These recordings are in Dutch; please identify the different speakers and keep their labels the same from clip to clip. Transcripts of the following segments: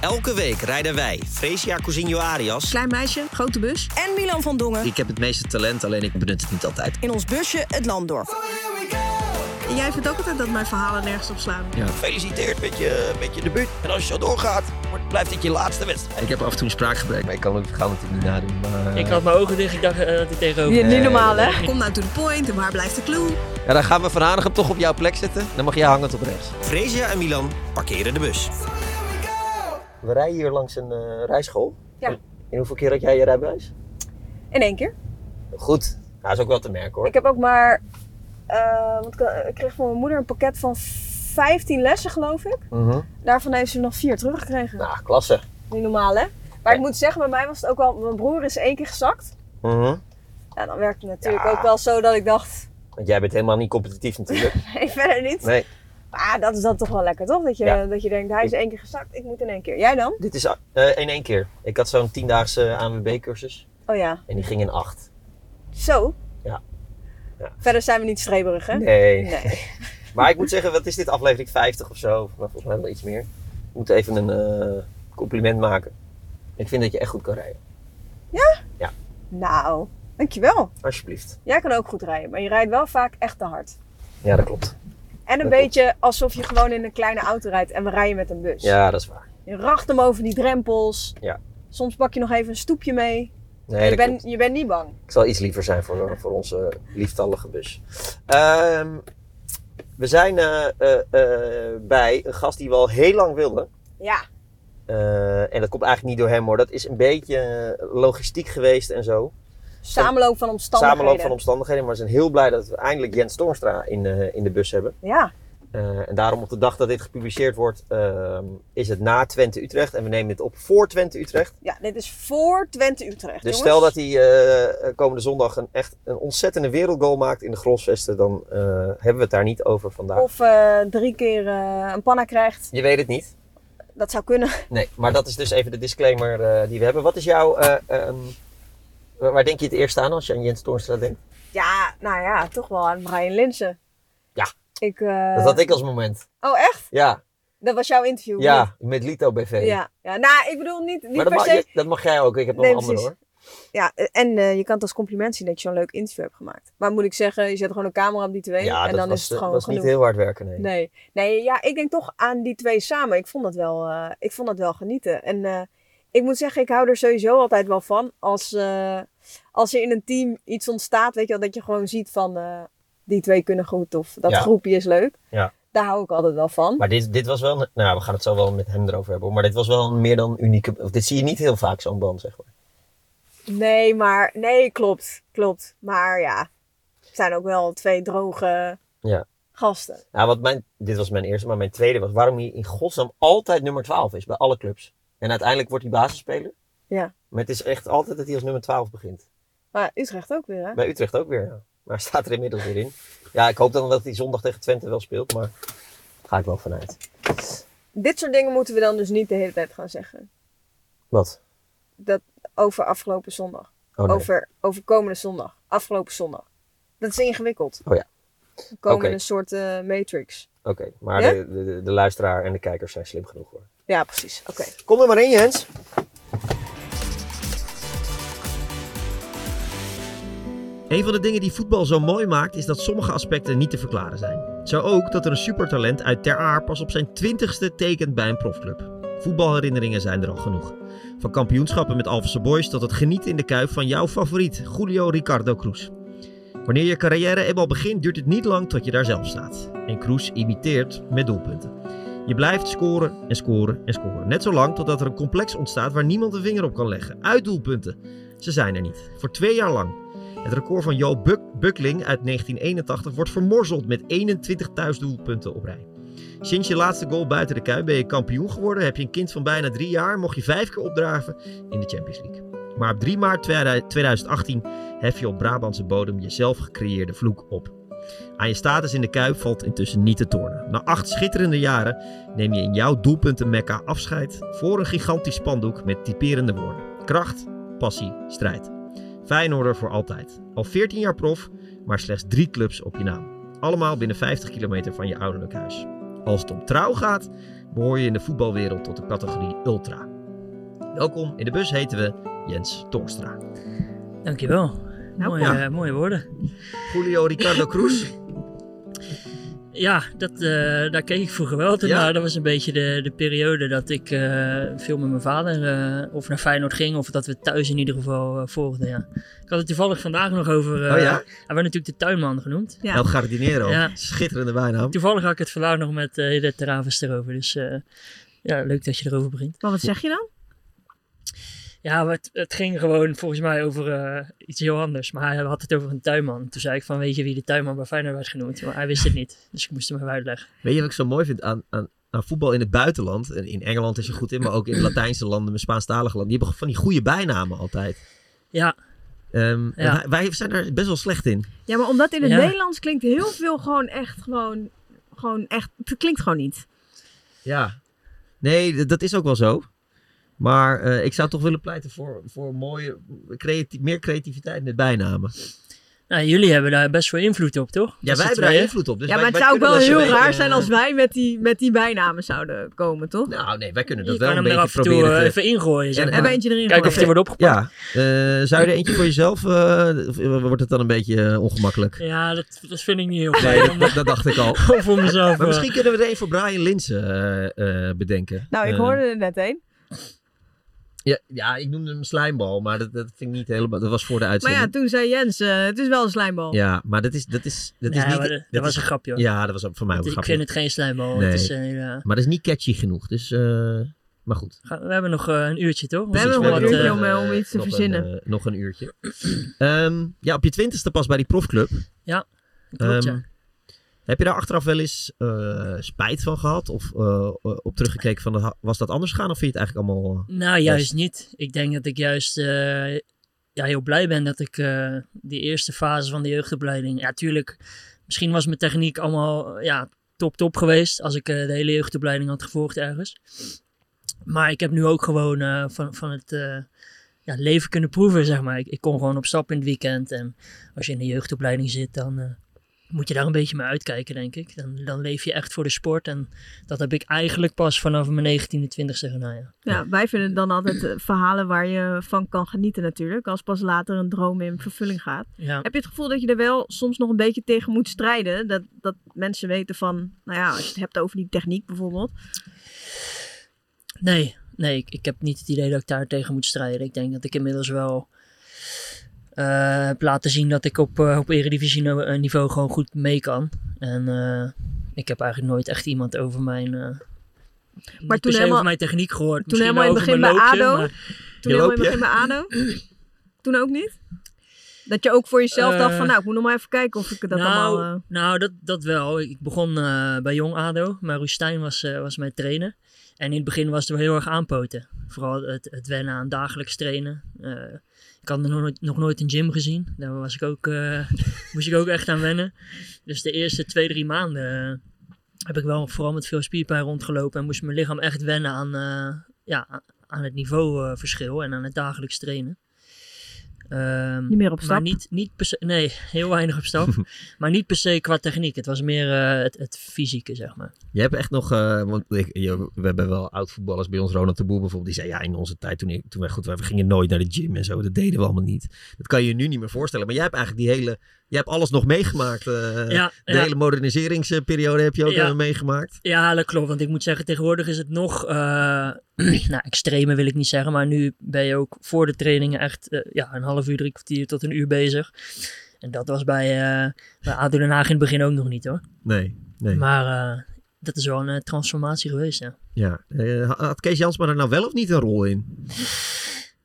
Speaker 1: Elke week rijden wij Fresia Cousinho Arias.
Speaker 2: Klein meisje, grote bus.
Speaker 3: en Milan van Dongen
Speaker 1: Ik heb het meeste talent, alleen ik benut het niet altijd.
Speaker 3: in ons busje het land door.
Speaker 2: En jij vindt ook altijd dat mijn verhalen nergens op slaan.
Speaker 1: Gefeliciteerd met je, met je debuut. En als je zo doorgaat, wordt- blijft dit je laatste wedstrijd. Ik heb af en toe een spraakgebrek. Maar ik kan ook vergaan natuurlijk niet nadoen. Maar...
Speaker 4: Ik had mijn ogen dicht, ik dacht eh, dat hij tegenover.
Speaker 5: Niet normaal, hè?
Speaker 2: Kom nou to the point en waar blijft de clue?
Speaker 6: Ja, dan gaan we Van Hanegem toch op jouw plek zetten. Dan mag jij hangend op rechts.
Speaker 1: Fresia en Milan parkeren de bus.
Speaker 6: We rijden hier langs een eh, rijschool.
Speaker 5: Ja.
Speaker 6: En hoeveel keer had jij je rijbewijs?
Speaker 5: In één keer.
Speaker 6: Goed. Dat is ook wel te merken hoor.
Speaker 5: Ik heb ook maar. eh, want ik, eh, ik kreeg van mijn moeder een pakket van 15 lessen, geloof ik.
Speaker 6: Mhm.
Speaker 5: Daarvan heeft ze nog vier teruggekregen.
Speaker 6: Nou, klasse.
Speaker 5: Niet normaal, hè? Maar ik moet zeggen, bij mij was het ook wel. Mijn broer is één keer gezakt.
Speaker 6: Mhm.
Speaker 5: Ja, dan werkte het natuurlijk
Speaker 6: Ja.
Speaker 5: ook wel zo dat ik dacht.
Speaker 6: Want jij bent helemaal niet competitief natuurlijk.
Speaker 5: Nee, verder niet.
Speaker 6: Nee.
Speaker 5: Maar dat is dan toch wel lekker, toch? Dat je,
Speaker 6: Ja.
Speaker 5: dat je denkt, hij is één keer gezakt, ik moet in één keer. Jij dan?
Speaker 6: Dit is eh, in één keer. Ik had zo'n tiendaagse ANWB-cursus.
Speaker 5: Oh ja.
Speaker 6: En die ging in acht.
Speaker 5: Zo.
Speaker 6: Ja. Ja.
Speaker 5: Verder zijn we niet streberig, hè?
Speaker 6: Nee.
Speaker 5: Nee.
Speaker 6: Maar ik moet zeggen, wat is dit? Aflevering 50 of zo? Nou, volgens mij wel iets meer. Ik moet even een eh, compliment maken. Ik vind dat je echt goed kan rijden.
Speaker 5: Nou, dankjewel.
Speaker 6: Alsjeblieft.
Speaker 5: Jij kan ook goed rijden, maar je rijdt wel vaak echt te hard.
Speaker 6: Ja, dat klopt.
Speaker 5: En een
Speaker 6: Dat
Speaker 5: beetje alsof je gewoon in een kleine auto rijdt en we rijden met een bus.
Speaker 6: Ja, dat is waar.
Speaker 5: Je racht hem over die drempels.
Speaker 6: Ja.
Speaker 5: Soms pak je nog even een stoepje mee.
Speaker 6: Nee,
Speaker 5: je,
Speaker 6: dat
Speaker 5: bent
Speaker 6: klopt.
Speaker 5: je bent niet bang.
Speaker 6: Ik zal iets liever zijn voor, voor onze lieftallige bus. Ehm, we zijn eh, eh, eh, bij een gast die we al heel lang wilden.
Speaker 5: Ja,
Speaker 6: Eh, en dat komt eigenlijk niet door hem hoor. Dat is een beetje eh, logistiek geweest en zo.
Speaker 5: samenloop van omstandigheden.
Speaker 6: Samenloop van omstandigheden. Maar we zijn heel blij dat we eindelijk Jens Toornstra in, eh, in de bus hebben.
Speaker 5: Ja,
Speaker 6: Eh, en daarom op de dag dat dit gepubliceerd wordt, ehm, is het na Twente Utrecht. En we nemen dit op voor Twente Utrecht.
Speaker 5: ja, dit is voor Twente Utrecht.
Speaker 6: Dus
Speaker 5: jongens.
Speaker 6: stel dat hij eh, komende zondag een, echt een ontzettende wereldgoal maakt in de Grosvesten, dan eh, hebben we het daar niet over vandaag.
Speaker 5: Of eh, drie keer eh, een panna krijgt.
Speaker 6: Je weet het niet.
Speaker 5: Dat zou kunnen.
Speaker 6: Nee, maar dat is dus even de disclaimer eh, die we hebben. Wat is jouw. eh, ehm, waar waar denk je het eerst aan als je aan Jens Toornstra denkt?
Speaker 5: Ja, nou ja, toch wel aan Brian Linsen.
Speaker 6: Ja.
Speaker 5: Ik, eh,
Speaker 6: Dat had ik als moment.
Speaker 5: Oh, echt?
Speaker 6: Ja,
Speaker 5: Dat was jouw interview? of
Speaker 6: ja met Lito BV.
Speaker 5: niet? ja. Ja, nou, ik bedoel niet, niet
Speaker 6: maar dat
Speaker 5: per
Speaker 6: mag,
Speaker 5: se...
Speaker 6: je- dat mag jij ook. Ik heb nog
Speaker 5: Nee,
Speaker 6: een andere hoor.
Speaker 5: precies. Ja, en eh, je kan het als compliment zien dat je zo'n leuk interview hebt gemaakt. Maar moet ik zeggen, je zet gewoon een camera op die twee
Speaker 6: Ja,
Speaker 5: en
Speaker 6: dat
Speaker 5: dan
Speaker 6: was,
Speaker 5: is
Speaker 6: eh,
Speaker 5: het gewoon
Speaker 6: was
Speaker 5: genoeg.
Speaker 6: niet heel hard werken. Nee.
Speaker 5: Nee. nee, ja, ik denk toch aan die twee samen. Ik vond dat wel, eh, ik vond dat wel genieten. En eh, ik moet zeggen, ik hou er sowieso altijd wel van als, eh, als er in een team iets ontstaat, weet je wel, dat je gewoon ziet van eh, die twee kunnen goed of dat
Speaker 6: Ja.
Speaker 5: groepje is leuk.
Speaker 6: Ja.
Speaker 5: Daar hou ik altijd wel van.
Speaker 6: Maar dit, dit was wel. een- nou, we gaan het zo wel met hem erover hebben. hoor. Maar dit was wel een meer dan unieke. Of dit zie je niet heel vaak, zo'n band, zeg maar.
Speaker 5: Nee, maar nee, klopt, klopt. Maar ja, het zijn ook wel twee droge
Speaker 6: Ja.
Speaker 5: gasten.
Speaker 6: Ja, Nou, wat mijn, dit was mijn eerste, maar mijn tweede was waarom hij in godsnaam altijd nummer 12 is bij alle clubs. En uiteindelijk wordt hij basisspeler.
Speaker 5: Ja.
Speaker 6: Maar het is echt altijd dat hij als nummer 12 begint.
Speaker 5: Maar Utrecht ook weer, hè?
Speaker 6: Bij Utrecht ook weer, ja. Maar hij staat er inmiddels weer in. Ja, ik hoop dan dat hij zondag tegen Twente wel speelt, maar daar ga ik wel vanuit.
Speaker 5: Dit soort dingen moeten we dan dus niet de hele tijd gaan zeggen.
Speaker 6: Wat?
Speaker 5: Dat over afgelopen zondag.
Speaker 6: Oh, nee.
Speaker 5: over, over komende zondag. Afgelopen zondag. Dat is ingewikkeld.
Speaker 6: Oh ja.
Speaker 5: We komen
Speaker 6: Oké.
Speaker 5: in een soort eh, matrix.
Speaker 6: Oké, maar
Speaker 5: Ja?
Speaker 6: de, de, de luisteraar en de kijkers zijn slim genoeg hoor.
Speaker 5: Ja, precies. Oké.
Speaker 6: Kom er maar in, Jens.
Speaker 1: Een van de dingen die voetbal zo mooi maakt is dat sommige aspecten niet te verklaren zijn. Zo ook dat er een supertalent uit Ter Aar pas op zijn twintigste tekent bij een profclub. Voetbalherinneringen zijn er al genoeg. Van kampioenschappen met Alphense Boys tot het genieten in de kuif van jouw favoriet, Julio Ricardo Cruz. Wanneer je carrière eenmaal begint, duurt het niet lang tot je daar zelf staat. En Cruz imiteert met doelpunten. Je blijft scoren en scoren en scoren. Net zo lang totdat er een complex ontstaat waar niemand een vinger op kan leggen. Uitdoelpunten. Ze zijn er niet. Voor twee jaar lang. Het record van Jo Buk Bukling uit 1981 wordt vermorzeld met 21 thuisdoelpunten op rij. Sinds je laatste goal buiten de kuip ben je kampioen geworden, heb je een kind van bijna drie jaar, mocht je vijf keer opdraven in de Champions League. Maar op 3 maart 2000 2018 hef je op Brabantse bodem je zelf gecreëerde vloek op. Aan je status in de kuip valt intussen niet te tornen. Na acht schitterende jaren neem je in jouw doelpunten Mekka afscheid voor een gigantisch spandoek met typerende woorden. Kracht, passie, strijd. Feyenoorder voor altijd. Al 14 jaar prof, maar slechts drie clubs op je naam. Allemaal binnen 50 kilometer van je ouderlijk huis. Als het om trouw gaat, behoor je in de voetbalwereld tot de categorie Ultra. Welkom, in de bus heten we Jens Torstra.
Speaker 4: Dankjewel.
Speaker 2: Nou,
Speaker 4: mooie,
Speaker 1: ja.
Speaker 4: eh, mooie woorden.
Speaker 1: Julio Ricardo Cruz.
Speaker 4: Ja, dat, eh, daar keek ik vroeger wel altijd
Speaker 1: Ja.
Speaker 4: naar. Dat was een beetje de, de periode dat ik eh, veel met mijn vader eh, of naar Feyenoord ging. Of dat we thuis in ieder geval eh, volgden, ja. Ik had het toevallig vandaag nog over... eh,
Speaker 1: Oh ja?
Speaker 4: Hij werd natuurlijk de tuinman genoemd.
Speaker 2: Ja.
Speaker 1: El Jardinero.
Speaker 4: Ja.
Speaker 1: Schitterende bijnaam.
Speaker 4: Toevallig had ik het vandaag nog met eh de Teravis erover. Dus eh, ja, leuk dat je erover begint.
Speaker 2: Maar wat zeg je dan?
Speaker 4: Ja, maar het, het ging gewoon volgens mij over eh, iets heel anders. Maar hij had het over een tuinman. Toen zei ik van, weet je wie de tuinman bij Feyenoord werd genoemd? Maar hij wist het niet. Dus ik moest hem even uitleggen.
Speaker 1: Weet je wat ik zo mooi vind aan, aan, aan voetbal in het buitenland? En in Engeland is er goed in, maar ook in Latijnse landen, in Spaanstalige landen. Die hebben van die goede bijnamen altijd.
Speaker 4: Ja,
Speaker 1: Ehm, en
Speaker 4: Ja.
Speaker 1: wij- Wij zijn er best wel slecht in.
Speaker 2: Ja, maar omdat in het
Speaker 4: Ja.
Speaker 2: Nederlands klinkt heel veel gewoon echt gewoon... Gewoon echt, het klinkt gewoon niet.
Speaker 1: Dus Ja. Nee, d- dat is ook wel zo. Maar eh, ik zou toch willen pleiten voor, voor mooie, creati- meer creativiteit met bijnamen.
Speaker 4: nou, jullie hebben daar best wel invloed op, toch?
Speaker 1: Ja,
Speaker 4: Met
Speaker 1: wij
Speaker 4: z'n
Speaker 1: hebben daar
Speaker 4: tweeën.
Speaker 1: invloed op. Dus
Speaker 2: ja,
Speaker 1: wij-
Speaker 2: maar het
Speaker 1: wij
Speaker 2: zou ook wel
Speaker 1: kunnen dat
Speaker 2: heel
Speaker 1: een
Speaker 2: raar
Speaker 1: beetje-
Speaker 2: zijn als wij met die, met die bijnamen zouden komen, toch?
Speaker 1: Nou, nee, wij kunnen dat
Speaker 4: Je
Speaker 1: wel
Speaker 4: kan
Speaker 1: een
Speaker 4: hem er
Speaker 1: beetje
Speaker 4: af en toe
Speaker 1: proberen.
Speaker 4: eh,
Speaker 1: te-
Speaker 4: even ingooien, zeg
Speaker 1: En- en
Speaker 4: maar.
Speaker 2: Hebben eentje erin
Speaker 4: Kijken of die
Speaker 2: gegooid?
Speaker 4: wordt opgepakt.
Speaker 1: Ja, eh, zou je er eentje voor jezelf, eh, of, eh, wordt het dan een beetje eh, ongemakkelijk?
Speaker 4: Ja, dat, dat vind ik niet heel fijn.
Speaker 1: Nee,
Speaker 4: om-
Speaker 1: dat, dat dacht ik al.
Speaker 4: om voor mezelf.
Speaker 1: Maar
Speaker 4: eh,
Speaker 1: misschien kunnen we er een voor Brian Linsen eh, eh, bedenken.
Speaker 3: Nou, ik
Speaker 1: Eh,
Speaker 3: hoorde
Speaker 2: Er net één.
Speaker 1: Ja, ja, ik noemde hem slijmbal, maar dat, dat vind ik niet helemaal... Dat was voor de
Speaker 2: Maar ja,
Speaker 1: uitzending.
Speaker 2: toen zei Jens, eh, het is wel een slijmbal.
Speaker 1: ja, maar dat is, dat is, dat is
Speaker 4: nee,
Speaker 1: niet...
Speaker 4: maar dat, dat was
Speaker 1: is-
Speaker 4: een grapje, hoor.
Speaker 1: Ja, dat was ook voor mij ook een
Speaker 4: ik
Speaker 1: grapje.
Speaker 4: vind het geen slijmbal.
Speaker 1: Nee.
Speaker 4: Het is, eh, ja.
Speaker 1: Maar dat is niet catchy genoeg, dus... eh, maar goed.
Speaker 4: Ga- We hebben nog eh, een uurtje, toch?
Speaker 2: We hebben
Speaker 1: Precies,
Speaker 2: nog een
Speaker 4: wat,
Speaker 2: uurtje
Speaker 4: eh,
Speaker 2: om, eh, om
Speaker 1: eh,
Speaker 2: iets te
Speaker 1: nog een,
Speaker 2: verzinnen.
Speaker 1: eh, nog een uurtje. Ehm, ja, op je twintigste pas bij die profclub.
Speaker 4: klopt,
Speaker 1: Ehm,
Speaker 4: ja.
Speaker 1: Heb je daar achteraf wel eens eh, spijt van gehad? Of eh, op teruggekeken van, dat- was dat anders gaan? Of vind je het eigenlijk allemaal... eh,
Speaker 4: Nou, juist niet. Ik denk dat ik juist eh, ja, heel blij ben dat ik eh, die eerste fase van de jeugdopleiding. Ja, tuurlijk. Misschien was mijn techniek allemaal ja, top, top geweest. Als ik eh, de hele jeugdopleiding had gevolgd ergens. Maar ik heb nu ook gewoon eh, van, van het. eh, ja, leven kunnen proeven, zeg maar. Ik, ik kon gewoon op stap in het weekend. En als je in de jeugdopleiding zit, dan eh, moet je daar een beetje mee uitkijken, denk ik. Dan, dan leef je echt voor de sport. En dat heb ik eigenlijk pas vanaf mijn 19e, 20e gedaan, ja.
Speaker 2: Ja, wij vinden dan altijd eh, verhalen waar je van kan genieten natuurlijk. Als pas later een droom in vervulling gaat.
Speaker 4: ja.
Speaker 2: Heb je het gevoel dat je er wel soms nog een beetje tegen moet strijden? Dat, dat mensen weten van, nou ja, als je het hebt over die techniek bijvoorbeeld.
Speaker 4: Nee, nee ik, ik heb niet het idee dat ik daar tegen moet strijden. Ik denk dat ik inmiddels wel eh, heb laten zien dat ik op, eh, op eredivisie no- eh, niveau gewoon goed mee kan. En eh, ik heb eigenlijk nooit echt iemand over mijn... eh niet per se
Speaker 2: helemaal-
Speaker 4: over mijn techniek gehoord.
Speaker 2: toen
Speaker 4: Misschien
Speaker 2: helemaal in het
Speaker 4: wel over mijn
Speaker 2: begin bij
Speaker 4: loopje,
Speaker 2: ADO?
Speaker 4: maar-
Speaker 2: Toen
Speaker 1: Je
Speaker 2: helemaal in
Speaker 1: loopje?
Speaker 2: het begin bij ADO? Toen ook niet? Dat je ook voor jezelf
Speaker 4: Eh,
Speaker 2: dacht van, nou, ik moet nog maar even kijken of ik dat
Speaker 4: nou,
Speaker 2: allemaal... eh,
Speaker 4: Nou, dat, dat wel. Ik begon eh, bij Jong ADO, maar Roestijn was, eh, was mijn trainer. En in het begin was het wel heel erg aanpoten. Vooral het, het wennen aan dagelijks trainen. Eh, ik had nog nooit, nog nooit een gym gezien. Daar was ik ook, eh, moest ik ook echt aan wennen. Dus de eerste twee, drie maanden eh, heb ik wel vooral met veel spierpijn rondgelopen. En moest mijn lichaam echt wennen aan, eh, ja, aan het niveauverschil en aan het dagelijks trainen. Ehm,
Speaker 2: niet meer op stap.
Speaker 4: maar niet, niet per se, nee, heel weinig op stap. maar niet per se qua techniek. Het was meer eh, het, het fysieke, zeg maar.
Speaker 1: Je hebt echt nog, eh, want ik, je- we hebben wel oud voetballers bij ons, Ronald de Boer bijvoorbeeld, die zei ja in onze tijd toen, ik, toen wij goed waren, we gingen nooit naar de gym en zo, dat deden we allemaal niet. Dat kan je je nu niet meer voorstellen, maar jij hebt eigenlijk die hele, jij hebt alles nog meegemaakt. eh,
Speaker 4: ja,
Speaker 1: De
Speaker 4: ja,
Speaker 1: hele moderniseringsperiode heb je ook
Speaker 4: Ja.
Speaker 1: eh, meegemaakt.
Speaker 4: ja, dat klopt. Want ik moet zeggen, tegenwoordig is het nog, eh nou, extreme wil ik niet zeggen. Maar nu ben je ook voor de trainingen echt eh, ja, een half uur, drie kwartier tot een uur bezig. En dat was bij, eh bij ADO Den Haag in het begin ook nog niet hoor.
Speaker 1: Nee, nee.
Speaker 4: Maar eh, dat is wel een eh, transformatie geweest, ja.
Speaker 1: Ja. Eh, ha- had Kees Jansma er nou wel of niet een rol in?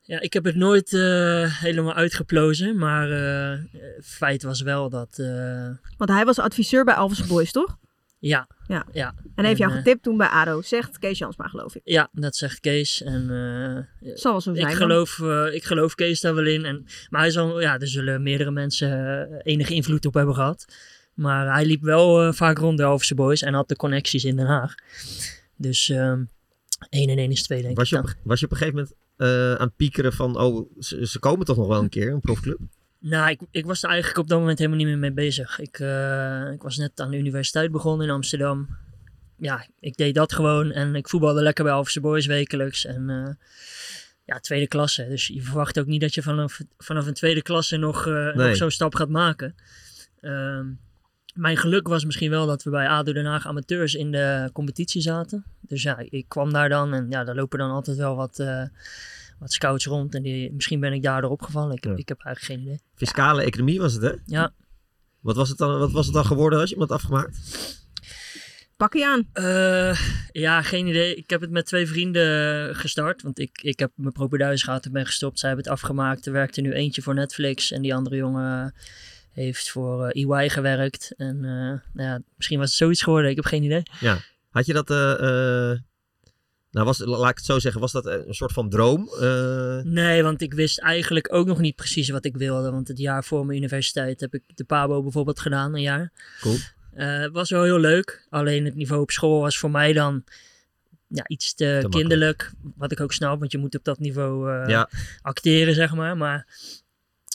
Speaker 4: Ja, ik heb het nooit eh, helemaal uitgeplozen, maar eh, feit was wel dat, eh,
Speaker 2: Want hij was adviseur bij Alves Boys, toch?
Speaker 4: ja,
Speaker 2: En heeft
Speaker 4: En,
Speaker 2: jou
Speaker 4: eh,
Speaker 2: getipt toen bij ADO, zegt Kees Jansma, geloof ik.
Speaker 4: Ja, dat zegt Kees. En eh,
Speaker 2: Zal wel zo zijn.
Speaker 4: ik,
Speaker 2: dan.
Speaker 4: geloof, eh, ik geloof Kees daar wel in. En, maar hij zal, ja, er zullen meerdere mensen eh, enige invloed op hebben gehad. Maar hij liep wel eh, vaak rond de Alphense Boys en had de connecties in Den Haag. Dus ehm 1 en 1 is 2, denk
Speaker 1: Was je
Speaker 4: ik.
Speaker 1: op,
Speaker 4: dan.
Speaker 1: was je op een gegeven moment eh, aan het piekeren van, oh, ze, ze komen toch nog wel een keer, een profclub?
Speaker 4: Nou, ik, ik was er eigenlijk op dat moment helemaal niet meer mee bezig. Ik, eh, ik was net aan de universiteit begonnen in Amsterdam. ja, ik deed dat gewoon. En ik voetbalde lekker bij Alphense Boys wekelijks. En eh, ja, tweede klasse. Dus je verwacht ook niet dat je vanaf, vanaf een tweede klasse nog, eh,
Speaker 1: Nee.
Speaker 4: nog zo'n stap gaat maken. Ehm, mijn geluk was misschien wel dat we bij ADO Den Haag amateurs in de competitie zaten. Dus ja, ik kwam daar dan en ja, daar lopen dan altijd wel wat, eh, wat scouts rond. En die, misschien ben ik daardoor opgevallen. Ik,
Speaker 1: Ja.
Speaker 4: ik heb eigenlijk geen idee.
Speaker 1: Fiscale economie was het, hè?
Speaker 4: Ja.
Speaker 1: Wat was het dan, wat was het dan geworden als je hem had afgemaakt?
Speaker 2: Pak je aan.
Speaker 4: Eh, ja, geen idee. Ik heb het met twee vrienden gestart. Want ik, ik heb mijn propeduis gehad en ben gestopt. Zij hebben het afgemaakt. Er werkte nu eentje voor Netflix. En die andere jongen heeft voor eh, EY gewerkt. En eh, nou ja, misschien was het zoiets geworden. Ik heb geen idee.
Speaker 1: Had je dat... eh, eh, nou, was, laat ik het zo zeggen. Was dat een soort van droom? Eh,
Speaker 4: Nee, want ik wist eigenlijk ook nog niet precies wat ik wilde. Want het jaar voor mijn universiteit heb ik de PABO bijvoorbeeld gedaan, een jaar.
Speaker 1: Cool.
Speaker 4: Eh, was wel heel leuk. Alleen het niveau op school was voor mij dan ja, iets te,
Speaker 1: makkelijk.
Speaker 4: kinderlijk. Wat ik ook snap, want je moet op dat niveau eh,
Speaker 1: Ja.
Speaker 4: acteren, zeg maar. Maar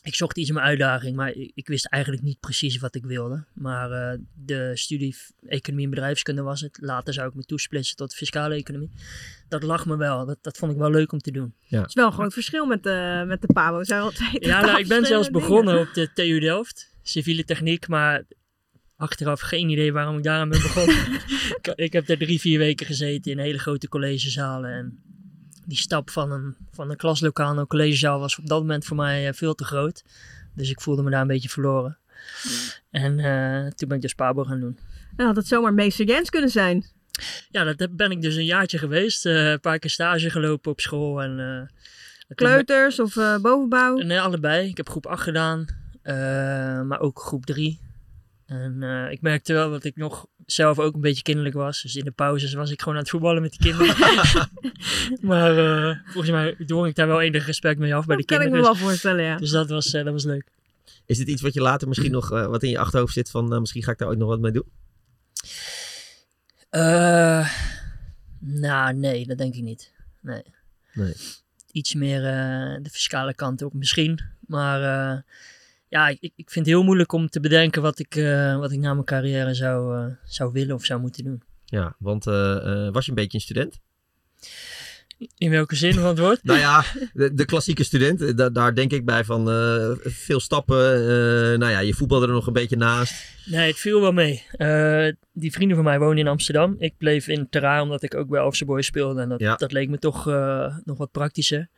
Speaker 4: ik zocht iets in mijn uitdaging. Maar ik, ik wist eigenlijk niet precies wat ik wilde. Maar eh, de studie f- Economie en Bedrijfskunde was het. Later zou ik me toesplitsen tot fiscale economie. Dat lag me wel. Dat, dat vond ik wel leuk om te doen.
Speaker 2: Het is wel een groot verschil met de, met de Pabo. Zijn wel twee
Speaker 4: Ja,
Speaker 2: totaal
Speaker 4: nou, ik ben zelfs
Speaker 2: verschillende
Speaker 4: begonnen op de TU Delft, civiele techniek, maar achteraf geen idee waarom ik daaraan ben begonnen. ik, ik heb daar drie, vier weken gezeten in hele grote collegezalen en die stap van een, van een klaslokaal naar een collegezaal was op dat moment voor mij eh, veel te groot. Dus ik voelde me daar een beetje verloren. En eh, toen ben ik dus Pabo gaan doen.
Speaker 2: dingen. Dan Nou, had het zomaar meester Jens kunnen zijn.
Speaker 4: Ja, dat heb- ben ik dus een jaartje geweest. eh, een paar keer stage gelopen op school. En, eh, het-
Speaker 2: Kleuters of eh, bovenbouw.
Speaker 4: Nee, allebei. Ik heb groep 8 gedaan, eh, maar ook groep 3. En eh, ik merkte wel dat ik nog zelf ook een beetje kinderlijk was. Dus in de pauzes was ik gewoon aan het voetballen met die kinderen. maar eh, volgens mij drong ik daar wel enig respect mee af bij de
Speaker 2: dat kan ik me
Speaker 4: kinderen.
Speaker 2: wel voorstellen, ja.
Speaker 4: Dus dat was, eh, dat was leuk.
Speaker 1: is dit iets wat je later misschien nog... eh, wat in je achterhoofd zit van... eh, misschien ga ik daar ooit nog wat mee doen?
Speaker 4: Eh, nou, nee, dat denk ik niet. Nee.
Speaker 1: Nee.
Speaker 4: Iets meer eh, de fiscale kant op misschien. Maar eh, ja, ik, ik vind het heel moeilijk om te bedenken wat ik, eh, wat ik na mijn carrière zou, eh, zou willen of zou moeten doen.
Speaker 1: Ja, want eh, eh, was je een beetje een student?
Speaker 4: In welke zin van het woord?
Speaker 1: Nou ja, de, de klassieke student, eh, da- daar denk ik bij van eh, veel stappen. eh, nou ja, je voetbalde er nog een beetje naast.
Speaker 4: Nee, het viel wel mee. Eh, die vrienden van mij wonen in Amsterdam. Ik bleef in Terra omdat ik ook bij Alpse Boys speelde. En dat,
Speaker 1: Ja.
Speaker 4: dat leek me toch eh, nog wat praktischer.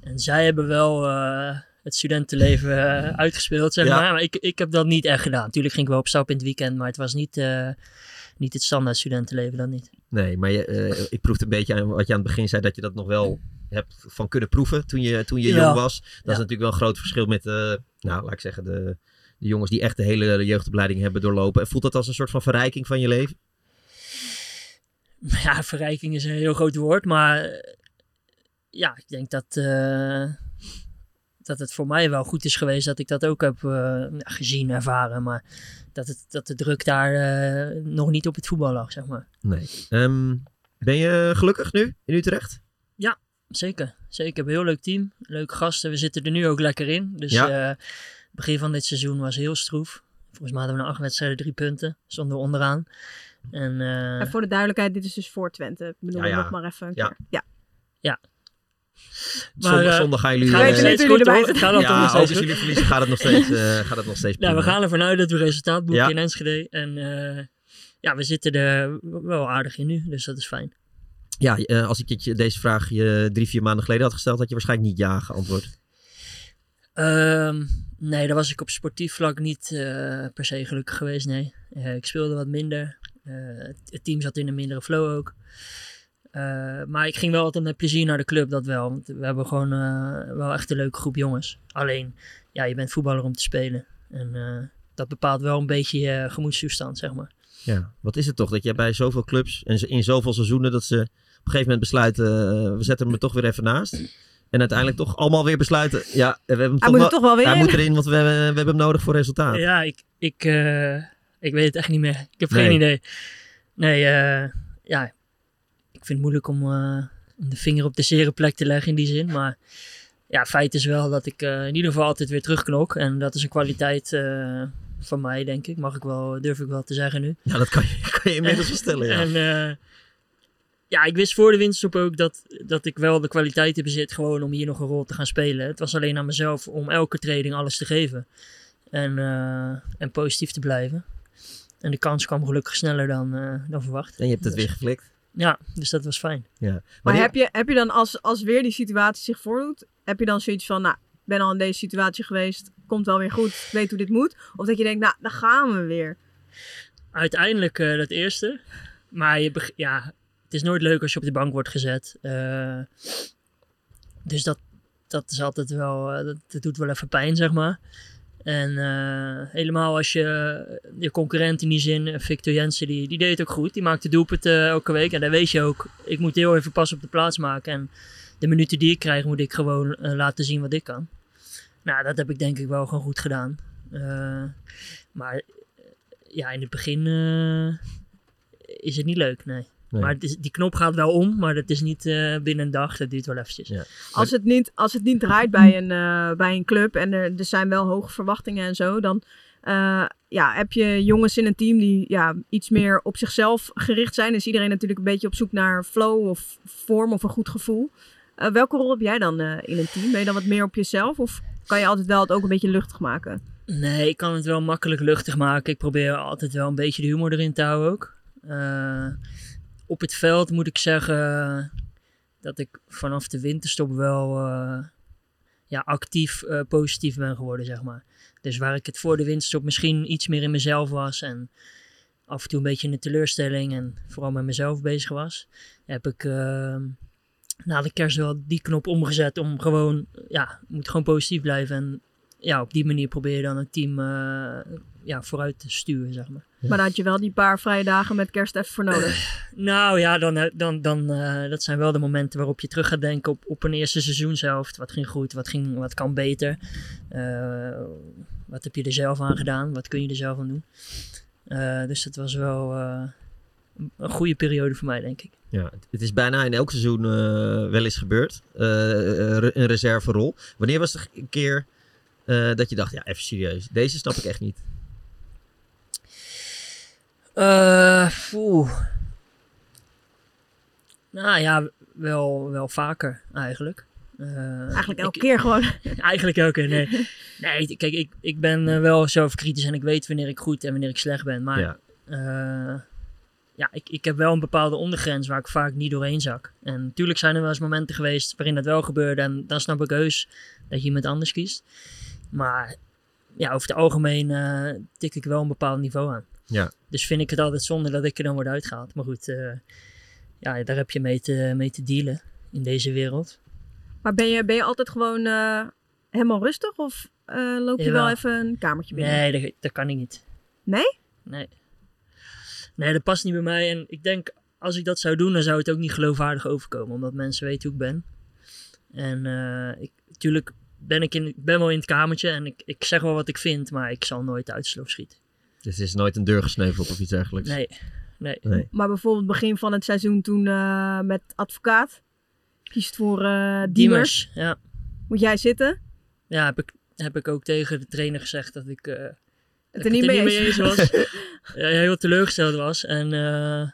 Speaker 4: En zij hebben wel eh, het studentenleven eh, uitgespeeld, zeg
Speaker 1: Ja.
Speaker 4: maar. Maar ik, ik heb dat niet echt gedaan. Tuurlijk ging ik wel op stap in het weekend, maar het was niet, eh, niet het standaard studentenleven, dat niet.
Speaker 1: Nee, maar je, eh, ik proefde een beetje aan wat je aan het begin zei, dat je dat nog wel hebt van kunnen proeven toen je, toen je
Speaker 4: Ja.
Speaker 1: jong was. Dat is
Speaker 4: Ja.
Speaker 1: natuurlijk wel een groot verschil met, eh, nou laat ik zeggen, de, de jongens die echt de hele jeugdopleiding hebben doorlopen. En voelt dat als een soort van verrijking van je leven?
Speaker 4: Ja, verrijking is een heel groot woord, maar eh, ja, ik denk dat, eh, dat het voor mij wel goed is geweest dat ik dat ook heb eh, nou, gezien, ervaren. Maar dat, het, dat de druk daar eh, nog niet op het voetbal lag, zeg maar.
Speaker 1: Nee. Ehm, ben je gelukkig nu in Utrecht?
Speaker 4: Zeker, zeker. We hebben een heel leuk team, leuke gasten. We zitten er nu ook lekker in. Dus
Speaker 1: Ja.
Speaker 4: eh, begin van dit seizoen was heel stroef. Volgens mij hadden we na acht wedstrijden drie punten, zonder onderaan. En, eh,
Speaker 2: En voor de duidelijkheid, dit is dus voor Twente. Ik bedoel,
Speaker 1: Ja, ja.
Speaker 2: nog maar even een
Speaker 1: Ja.
Speaker 2: keer. Ja.
Speaker 4: Maar,
Speaker 1: zondag,
Speaker 4: eh,
Speaker 1: zondag gaan jullie...
Speaker 4: het gaat
Speaker 2: Ga
Speaker 1: eh,
Speaker 2: je
Speaker 4: nog steeds
Speaker 2: jullie
Speaker 4: goed,
Speaker 2: erbij
Speaker 4: hoor. Het
Speaker 2: zitten?
Speaker 4: gaat nog
Speaker 1: ja,
Speaker 4: steeds
Speaker 1: ook als
Speaker 4: goed.
Speaker 1: jullie verliezen gaat het nog steeds, eh, gaat het nog steeds
Speaker 4: Nou, we
Speaker 1: prima.
Speaker 4: gaan ervan uit dat we resultaat boeken
Speaker 1: Ja.
Speaker 4: in Enschede. En eh, ja, we zitten er eh, wel aardig in nu, dus dat is fijn.
Speaker 1: Ja, eh, als ik je deze vraag je drie, vier maanden geleden had gesteld, had je waarschijnlijk niet ja geantwoord.
Speaker 4: Ehm, nee, daar was ik op sportief vlak niet eh, per se gelukkig geweest, nee. Eh, ik speelde wat minder. Eh, het- het team zat in een mindere flow ook. Eh, maar ik ging wel altijd met plezier naar de club, dat wel. Want we hebben gewoon eh, wel echt een leuke groep jongens. Alleen, ja, je bent voetballer om te spelen. En eh, dat bepaalt wel een beetje je gemoedstoestand, zeg maar.
Speaker 1: Ja. Wat is het toch dat jij bij zoveel clubs en ze- in zoveel seizoenen dat ze op een gegeven moment besluiten, eh, we zetten hem er toch weer even naast. En uiteindelijk toch allemaal weer besluiten, ja, we hebben hem
Speaker 2: Hij
Speaker 1: toch
Speaker 2: moet
Speaker 1: wel-
Speaker 2: er toch wel weer
Speaker 1: hij
Speaker 2: in.
Speaker 1: moet erin, want we hebben, we hebben hem nodig voor resultaat.
Speaker 4: Ja, ik, ik, eh, ik weet het echt niet meer. Ik heb
Speaker 1: Nee.
Speaker 4: geen idee. Nee, eh, ja, ik vind het moeilijk om, eh, om de vinger op de zere plek te leggen in die zin. Maar ja, feit is wel dat ik eh, in ieder geval altijd weer terugknok. En dat is een kwaliteit eh, van mij, denk ik. Mag ik wel, durf ik wel te zeggen nu.
Speaker 1: Ja, Nou, dat kan je, kan je inmiddels wel stellen. Ja.
Speaker 4: En eh, ja, ik wist voor de winterstop ook dat, dat ik wel de kwaliteiten bezit gewoon om hier nog een rol te gaan spelen. Het was alleen aan mezelf om elke training alles te geven. En, eh, en positief te blijven. En de kans kwam gelukkig sneller dan, eh, dan verwacht.
Speaker 1: En je hebt het weer geflikt.
Speaker 4: Ja, dus dat was fijn.
Speaker 1: Ja.
Speaker 2: Maar
Speaker 1: Wanneer-
Speaker 2: heb je, heb je dan, als, als weer die situatie zich voordoet, heb je dan zoiets van, nou, ik ben al in deze situatie geweest, komt wel weer goed, ik weet hoe dit moet? Of dat je denkt, nou, daar gaan we weer.
Speaker 4: uiteindelijk eh, dat eerste. Maar je beg- ja, het is nooit leuk als je op de bank wordt gezet. Eh, dus dat, dat is altijd wel, eh, dat, dat doet wel even pijn, zeg maar. En eh, helemaal als je eh, je concurrent in die zin, eh, Victor Jensen, die, die deed het ook goed. Die maakte doelpunten elke week. En dan weet je ook, ik moet heel even pas op de plaats maken. En de minuten die ik krijg, moet ik gewoon eh, laten zien wat ik kan. Nou, dat heb ik denk ik wel gewoon goed gedaan. Eh, maar ja, in het begin eh, is het niet leuk, nee.
Speaker 1: Nee.
Speaker 4: Maar het is, die knop gaat wel om, maar dat is niet eh, binnen een dag. Dat duurt wel eventjes.
Speaker 1: Ja.
Speaker 2: Als het niet, als het niet draait bij een, eh, bij een club en er, er zijn wel hoge verwachtingen en zo, dan eh, ja, heb je jongens in een team die ja, iets meer op zichzelf gericht zijn. Is iedereen natuurlijk een beetje op zoek naar flow of vorm of een goed gevoel. Eh, welke rol heb jij dan eh, in een team? Ben je dan wat meer op jezelf of kan je altijd wel het ook een beetje luchtig maken?
Speaker 4: Nee, ik kan het wel makkelijk luchtig maken. Ik probeer altijd wel een beetje de humor erin te houden ook. Eh, op het veld moet ik zeggen dat ik vanaf de winterstop wel eh, ja, actief eh, positief ben geworden, zeg maar. Dus waar ik het voor de winterstop misschien iets meer in mezelf was en af en toe een beetje in de teleurstelling en vooral met mezelf bezig was, heb ik eh, na de kerst wel die knop omgezet om gewoon, ja, moet gewoon positief blijven en ja, op die manier probeer je dan het team eh, ja, vooruit te sturen, zeg maar.
Speaker 1: Ja.
Speaker 2: Maar daar had je wel die paar vrije dagen met kerst even voor nodig.
Speaker 4: Nou ja, dan, eh, dan, dan, eh, dat zijn wel de momenten waarop je terug gaat denken op, op een eerste seizoenshelft. Wat ging goed, wat, ging, wat kan beter? Eh, wat heb je er zelf aan gedaan? Wat kun je er zelf aan doen? Eh, dus dat was wel eh, een- een goede periode voor mij, denk ik.
Speaker 1: Ja, het- het is bijna in elk seizoen eh, wel eens gebeurd. Eh, re- een reserverol. Wanneer was er een keer eh, dat je dacht, ja, even serieus. Deze snap ik echt niet.
Speaker 4: Eh, oeh. Nou ja, wel, wel vaker eigenlijk. Eh,
Speaker 2: Eigenlijk elke
Speaker 4: ik-
Speaker 2: keer gewoon.
Speaker 4: Eigenlijk ook, hè, nee. Nee, t- kijk, ik, ik ben eh, wel zelfkritisch en ik weet wanneer ik goed en wanneer ik slecht ben. Maar
Speaker 1: Ja.
Speaker 4: eh, ja, ik, ik heb wel een bepaalde ondergrens waar ik vaak niet doorheen zak. En natuurlijk zijn er wel eens momenten geweest waarin dat wel gebeurde. En dan snap ik heus dat je iemand anders kiest. Maar ja, over het algemeen eh, tik ik wel een bepaald niveau aan.
Speaker 1: Ja.
Speaker 4: Dus vind ik het altijd zonde dat ik er dan word uitgehaald. Maar goed, eh, ja, daar heb je mee te, mee te dealen in deze wereld.
Speaker 2: Maar ben je, ben je altijd gewoon eh, helemaal rustig of eh, loop je wel
Speaker 4: Jawel.
Speaker 2: even een kamertje binnen?
Speaker 4: Nee, dat, dat kan ik niet.
Speaker 2: Nee?
Speaker 4: Nee. Nee, dat past niet bij mij. En ik denk, als ik dat zou doen, dan zou het ook niet geloofwaardig overkomen. Omdat mensen weten hoe ik ben. En eh ik, tuurlijk ben ik in, ik ben wel in het kamertje en ik, ik zeg wel wat ik vind, maar ik zal nooit uit de sloop schieten.
Speaker 1: Dus er is nooit een deur gesneuveld of iets dergelijks.
Speaker 4: Nee, nee.
Speaker 1: Nee.
Speaker 2: Maar bijvoorbeeld begin van het seizoen toen eh, met advocaat. Kiest voor eh Diemers.
Speaker 4: Diemers, ja.
Speaker 2: Moet jij zitten?
Speaker 4: Ja, heb ik, heb ik ook tegen de trainer gezegd dat ik... eh,
Speaker 2: Het
Speaker 4: dat
Speaker 2: er
Speaker 4: ik
Speaker 2: niet mee eens.
Speaker 4: was. Ja, heel teleurgesteld was. En eh,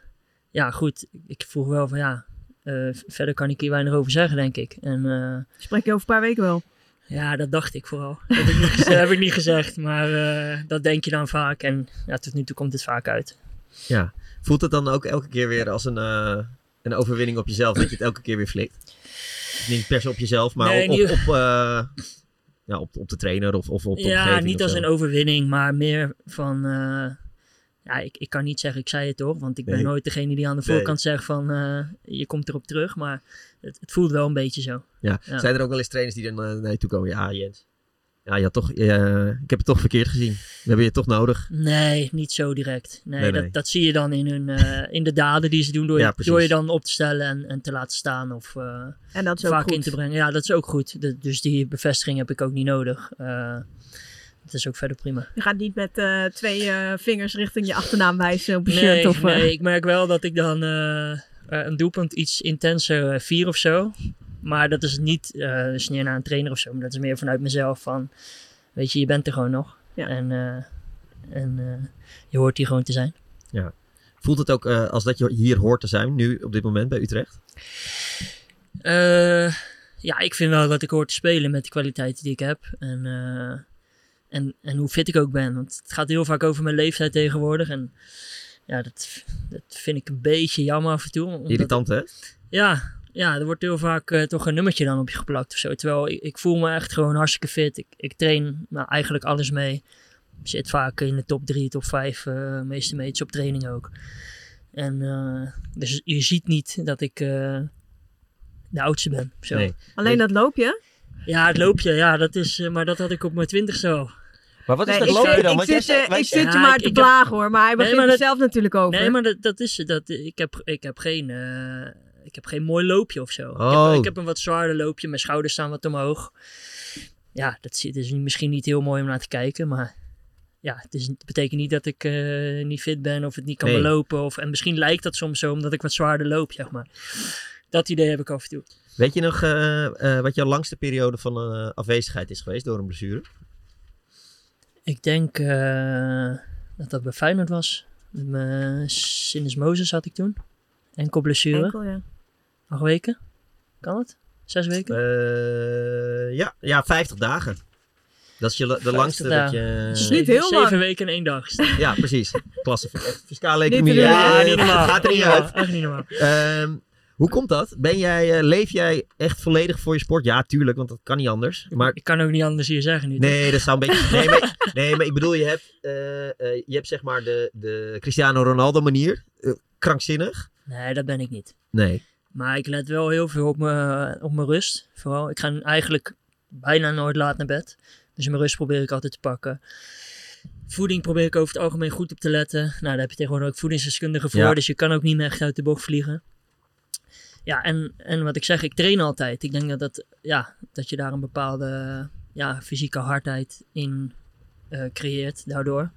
Speaker 4: ja, goed, ik vroeg wel van ja, eh, verder kan ik hier weinig over zeggen, denk ik. En eh,
Speaker 2: Spreek je over een paar weken wel.
Speaker 4: ja, dat dacht ik vooral. Dat heb ik niet, geze- heb ik niet gezegd, maar eh, dat denk je dan vaak. En ja, tot nu toe komt het vaak uit.
Speaker 1: Ja. Voelt het dan ook elke keer weer als een, eh, een overwinning op jezelf? Dat je het elke keer weer flikt? Niet per se op jezelf, maar
Speaker 4: Nee,
Speaker 1: op, op,
Speaker 4: niet-
Speaker 1: op, eh, ja, op, op de trainer of, of op de
Speaker 4: ja,
Speaker 1: omgeving
Speaker 4: niet
Speaker 1: of
Speaker 4: als
Speaker 1: zo.
Speaker 4: een overwinning, maar meer van... eh, ja, ik, ik kan niet zeggen, ik zei het toch, want ik ben
Speaker 1: Nee.
Speaker 4: nooit degene die aan de
Speaker 1: Nee.
Speaker 4: voorkant zegt van eh, je komt erop terug, maar het, het voelt wel een beetje zo.
Speaker 1: Ja.
Speaker 4: Ja.
Speaker 1: Zijn er ook wel eens trainers die dan eh, naar je toe komen? Ja, Jens. Ja, je had toch, eh, ik heb het toch verkeerd gezien. We hebben je toch nodig.
Speaker 4: Nee, niet zo direct. Nee,
Speaker 1: Nee,
Speaker 4: dat,
Speaker 1: nee.
Speaker 4: dat zie je dan in, hun, eh, in de daden die ze doen. Door,
Speaker 1: Ja,
Speaker 4: je,
Speaker 1: precies.
Speaker 4: door je dan op te stellen en, en te laten staan of eh,
Speaker 2: En dat is ook
Speaker 4: vaak
Speaker 2: goed.
Speaker 4: in te brengen. Ja, dat is ook goed. De- dus die bevestiging heb ik ook niet nodig. Eh dat is ook verder prima.
Speaker 2: Je gaat niet met eh, twee eh, vingers richting je achternaam wijzen op je
Speaker 4: Nee,
Speaker 2: shirt. Of, eh,
Speaker 4: nee, ik merk wel dat ik dan eh, eh, een doelpunt iets intenser eh, vier of zo. Maar dat is niet eh sneer naar een trainer of zo. Maar dat is meer vanuit mezelf van, weet je, je bent er gewoon nog.
Speaker 2: Ja.
Speaker 4: En eh, En eh, je hoort hier gewoon te zijn.
Speaker 1: Voelt het ook eh, als dat je hier hoort te zijn, nu op dit moment bij Utrecht?
Speaker 4: Eh, ja, ik vind wel dat ik hoor te spelen met de kwaliteiten die ik heb. En, eh, en, en hoe fit ik ook ben. Want het gaat heel vaak over mijn leeftijd tegenwoordig. En ja, dat, dat vind ik een beetje jammer af en toe. omdat-
Speaker 1: Irritant, hè?
Speaker 4: ja, ja, er wordt heel vaak eh, toch een nummertje dan op je geplakt of zo. Terwijl ik, ik voel me echt gewoon hartstikke fit. Ik, ik train nou, eigenlijk alles mee. Ik zit vaak in de top 3, top 5, eh meeste meets op training ook. En eh, dus je ziet niet dat ik eh, de oudste ben. of Zo.
Speaker 1: Nee.
Speaker 2: Alleen dat loopje.
Speaker 4: Ja, het loopje, ja, dat is, eh, maar dat had ik op mijn twintigste al.
Speaker 6: Maar wat is
Speaker 2: Nee,
Speaker 6: dat
Speaker 2: ik
Speaker 6: lopen
Speaker 2: zit-
Speaker 6: dan?
Speaker 2: ik
Speaker 6: Want jij
Speaker 2: zit,
Speaker 6: zegt-
Speaker 2: eh,
Speaker 6: wij
Speaker 2: ik
Speaker 6: zeggen-
Speaker 4: Ja,
Speaker 2: zit je maar
Speaker 4: ik-
Speaker 2: te
Speaker 4: ik heb-
Speaker 2: plagen hoor, maar hij begint
Speaker 4: maar
Speaker 2: er
Speaker 4: dat-
Speaker 2: zelf natuurlijk over.
Speaker 4: Nee, maar dat, dat is dat. Ik heb, ik heb geen. eh, ik heb geen mooi loopje of zo. Ik,
Speaker 1: Oh.
Speaker 4: heb, ik heb een wat zwaarder loopje. Mijn schouders staan wat omhoog. Ja, dat is, dat is misschien niet heel mooi om naar te kijken. Maar ja, het, is, het betekent niet dat ik eh, niet fit ben of het niet kan
Speaker 1: Nee.
Speaker 4: belopen. Of, en misschien lijkt dat soms zo omdat ik wat zwaarder loop, zeg maar. Dat idee heb ik af en toe.
Speaker 1: Weet je nog eh, eh, wat jouw langste periode van eh, afwezigheid is geweest door een blessure?
Speaker 4: Ik denk eh, dat dat bij Feyenoord was. Met mijn Sinus Mozes had ik toen. Enkel blessure.
Speaker 2: Enkel, ja.
Speaker 4: Acht weken? Kan het? Zes weken?
Speaker 1: Eh, ja, ja, 50 dagen. Dat is je, la- de
Speaker 4: 50
Speaker 1: langste dat
Speaker 4: dagen.
Speaker 2: Dat
Speaker 1: je...
Speaker 2: is niet heel
Speaker 4: Eh, Zeven
Speaker 2: lang.
Speaker 4: weken in één dag.
Speaker 1: Ja, precies. Klasse. eh, Fiscale
Speaker 2: Niet te
Speaker 1: economie.
Speaker 2: doen.
Speaker 1: Ja,
Speaker 2: Ja,
Speaker 1: eh, gaat er niet
Speaker 4: Echt
Speaker 1: uit.
Speaker 4: Echt niet normaal.
Speaker 1: Ehm, hoe komt dat? Ben jij, eh, leef jij echt volledig voor je sport? Ja, tuurlijk, want dat kan niet anders. Maar
Speaker 4: Ik kan ook niet anders hier zeggen nu.
Speaker 1: nee, dat zou een beetje... Nee, maar, nee, maar ik bedoel, je hebt, eh, eh, je hebt zeg maar de, de Cristiano Ronaldo manier. Eh, krankzinnig.
Speaker 4: Nee, dat ben ik niet.
Speaker 1: Nee.
Speaker 4: Maar ik let wel heel veel op mijn, op mijn rust. Vooral, ik ga eigenlijk bijna nooit laat naar bed. Dus mijn rust probeer ik altijd te pakken. Voeding probeer ik over het algemeen goed op te letten. Nou, daar heb je tegenwoordig ook voedingsdeskundigen voor.
Speaker 1: Ja.
Speaker 4: Dus je kan ook niet meer echt uit de bocht vliegen. Ja, en, en wat ik zeg, ik train altijd. Ik denk dat, dat, ja, dat je daar een bepaalde ja, fysieke hardheid in eh, creëert. Daardoor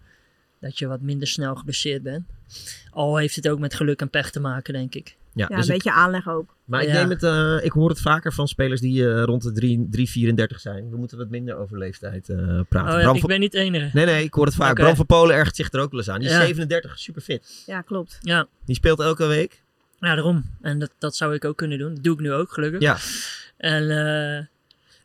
Speaker 4: dat je wat minder snel geblesseerd bent. Al heeft het ook met geluk en pech te maken, denk ik.
Speaker 1: Ja,
Speaker 2: Ja,
Speaker 1: dus
Speaker 2: een
Speaker 1: het-
Speaker 2: beetje aanleg ook.
Speaker 1: maar ik,
Speaker 4: Ja.
Speaker 1: neem het, eh, ik hoor het vaker van spelers die eh, rond de 3, 3, 34 zijn. We moeten wat minder over leeftijd eh, praten.
Speaker 4: Oh ja,
Speaker 1: Bram
Speaker 4: ik
Speaker 1: van-
Speaker 4: ben niet de enige.
Speaker 1: Nee, nee, ik hoor het vaak.
Speaker 4: Oké.
Speaker 1: Bram van Polen ergert zich er ook wel eens aan. Die is
Speaker 4: Ja.
Speaker 1: 37, super fit.
Speaker 2: Ja, klopt.
Speaker 4: Ja,
Speaker 1: Die speelt elke week.
Speaker 4: ja, daarom. En dat, dat zou ik ook kunnen doen. Dat doe ik nu ook, gelukkig.
Speaker 1: Ja.
Speaker 4: En eh,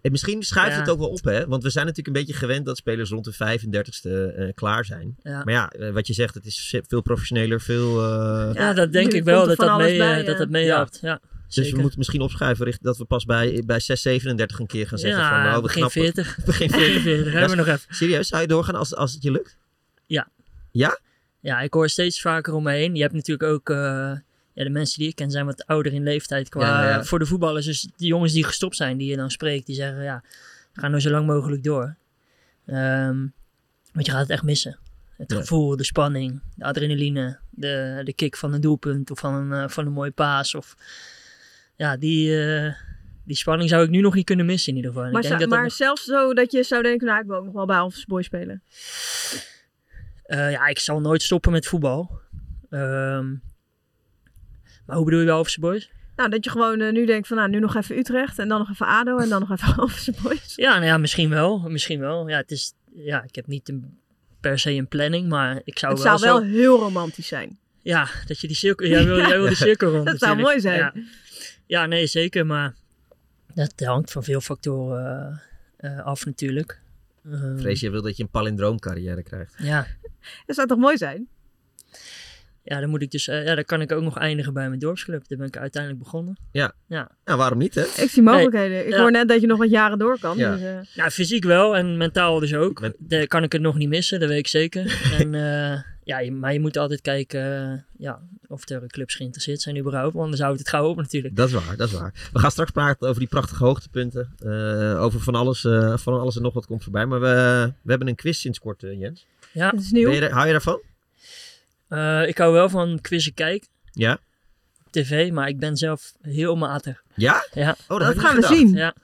Speaker 1: En misschien schuift
Speaker 4: Ja.
Speaker 1: het ook wel op, hè? Want we zijn natuurlijk een beetje gewend dat spelers rond de 35ste eh, klaar zijn.
Speaker 4: ja.
Speaker 1: Maar ja, eh, wat je zegt, het is veel professioneler, veel... eh,
Speaker 4: Ja,
Speaker 2: Ja,
Speaker 4: dat denk
Speaker 2: nu
Speaker 4: ik wel
Speaker 2: komt er
Speaker 4: dat
Speaker 2: van
Speaker 4: dat,
Speaker 2: alles
Speaker 4: mee,
Speaker 2: bij,
Speaker 4: eh, dat
Speaker 2: eh.
Speaker 4: dat meehelpt. Ja,
Speaker 1: dus we
Speaker 4: zeker.
Speaker 1: moeten misschien opschuiven richt- dat we pas bij, bij 6, 37 een keer gaan zeggen
Speaker 4: ja,
Speaker 1: van... nou, we
Speaker 4: begin
Speaker 1: knappen-
Speaker 4: 40.
Speaker 1: Begin 40.
Speaker 4: Begin 40, hebben we nog even.
Speaker 1: Serieus, zou je doorgaan als, als het je lukt?
Speaker 4: Mm. Ja, ik hoor steeds vaker om me heen. Je hebt natuurlijk ook... eh, ja, de mensen die ik ken zijn wat ouder in leeftijd qua...
Speaker 1: Ja, ja.
Speaker 4: Voor de voetballers, dus die jongens die gestopt zijn, die je dan spreekt, die zeggen... Ja, ga nou zo lang mogelijk door. Ehm, want je gaat het echt missen. Het
Speaker 1: Ja.
Speaker 4: gevoel, de spanning, de adrenaline, de, de kick van een doelpunt of van een, eh, van een mooie paas. Of, ja, die, eh, die spanning zou ik nu nog niet kunnen missen in ieder geval. En ik
Speaker 2: Maar,
Speaker 4: denk
Speaker 2: zo-
Speaker 4: dat dat
Speaker 2: maar zelfs zo dat je zou denken, nou ik wil ook nog wel bij Alphys Boy spelen.
Speaker 4: Eh, ja, ik zal nooit stoppen met voetbal. Ehm, maar hoe bedoel je bij Office Boys?
Speaker 2: Nou, dat je gewoon eh, nu denkt van, nou nu nog even Utrecht en dan nog even ADO en dan nog even Alphys Boys.
Speaker 4: Ja, nou ja, misschien wel. Misschien wel. Ja, het is, ja ik heb niet een, per se een planning, maar ik zou
Speaker 2: Het
Speaker 4: wel
Speaker 2: zou
Speaker 4: zo-
Speaker 2: wel heel romantisch zijn.
Speaker 4: Ja, dat je die cirkel... Jij wil, jij wil die cirkel rond
Speaker 2: Dat zou
Speaker 4: natuurlijk.
Speaker 2: mooi zijn.
Speaker 4: Ja. Ja, nee, zeker. Maar dat hangt van veel factoren eh, eh, af natuurlijk. Ehm,
Speaker 1: Vrees je wil dat je een palindroomcarrière krijgt.
Speaker 4: Ja,
Speaker 2: Dat zou toch mooi zijn?
Speaker 4: ja, dan moet ik dus, eh, ja, dan kan ik ook nog eindigen bij mijn dorpsclub. Daar ben ik uiteindelijk begonnen.
Speaker 1: Nou, waarom niet, hè?
Speaker 2: Ik zie mogelijkheden. Ik
Speaker 4: Ja.
Speaker 2: hoor net dat je nog wat jaren door kan.
Speaker 1: Ja.
Speaker 2: Dus, eh,
Speaker 4: Nou, fysiek wel en mentaal dus ook.
Speaker 1: Met-
Speaker 4: Daar kan ik het nog niet missen, dat weet ik zeker. en, eh, ja, je- maar je moet altijd kijken eh, ja, of er clubs geïnteresseerd zijn überhaupt. Want anders houdt het gauw op natuurlijk.
Speaker 1: Dat is waar, dat is waar. We gaan straks praten over die prachtige hoogtepunten. eh, over van alles, eh, van alles en nog wat komt voorbij. Maar we, we hebben een quiz sinds kort, eh, Jens.
Speaker 4: Ja,
Speaker 2: het is
Speaker 1: Ben
Speaker 2: nieuw.
Speaker 1: je daar- hou je daarvan?
Speaker 4: eh, ik hou wel van quizzen kijken
Speaker 1: Ja?
Speaker 4: op tv, maar ik ben zelf heel matig.
Speaker 1: Ja?
Speaker 4: Ja,
Speaker 1: Oh,
Speaker 2: Dat
Speaker 1: had ik
Speaker 2: gaan
Speaker 1: niet
Speaker 2: we
Speaker 1: gedacht.
Speaker 2: zien.
Speaker 4: ja.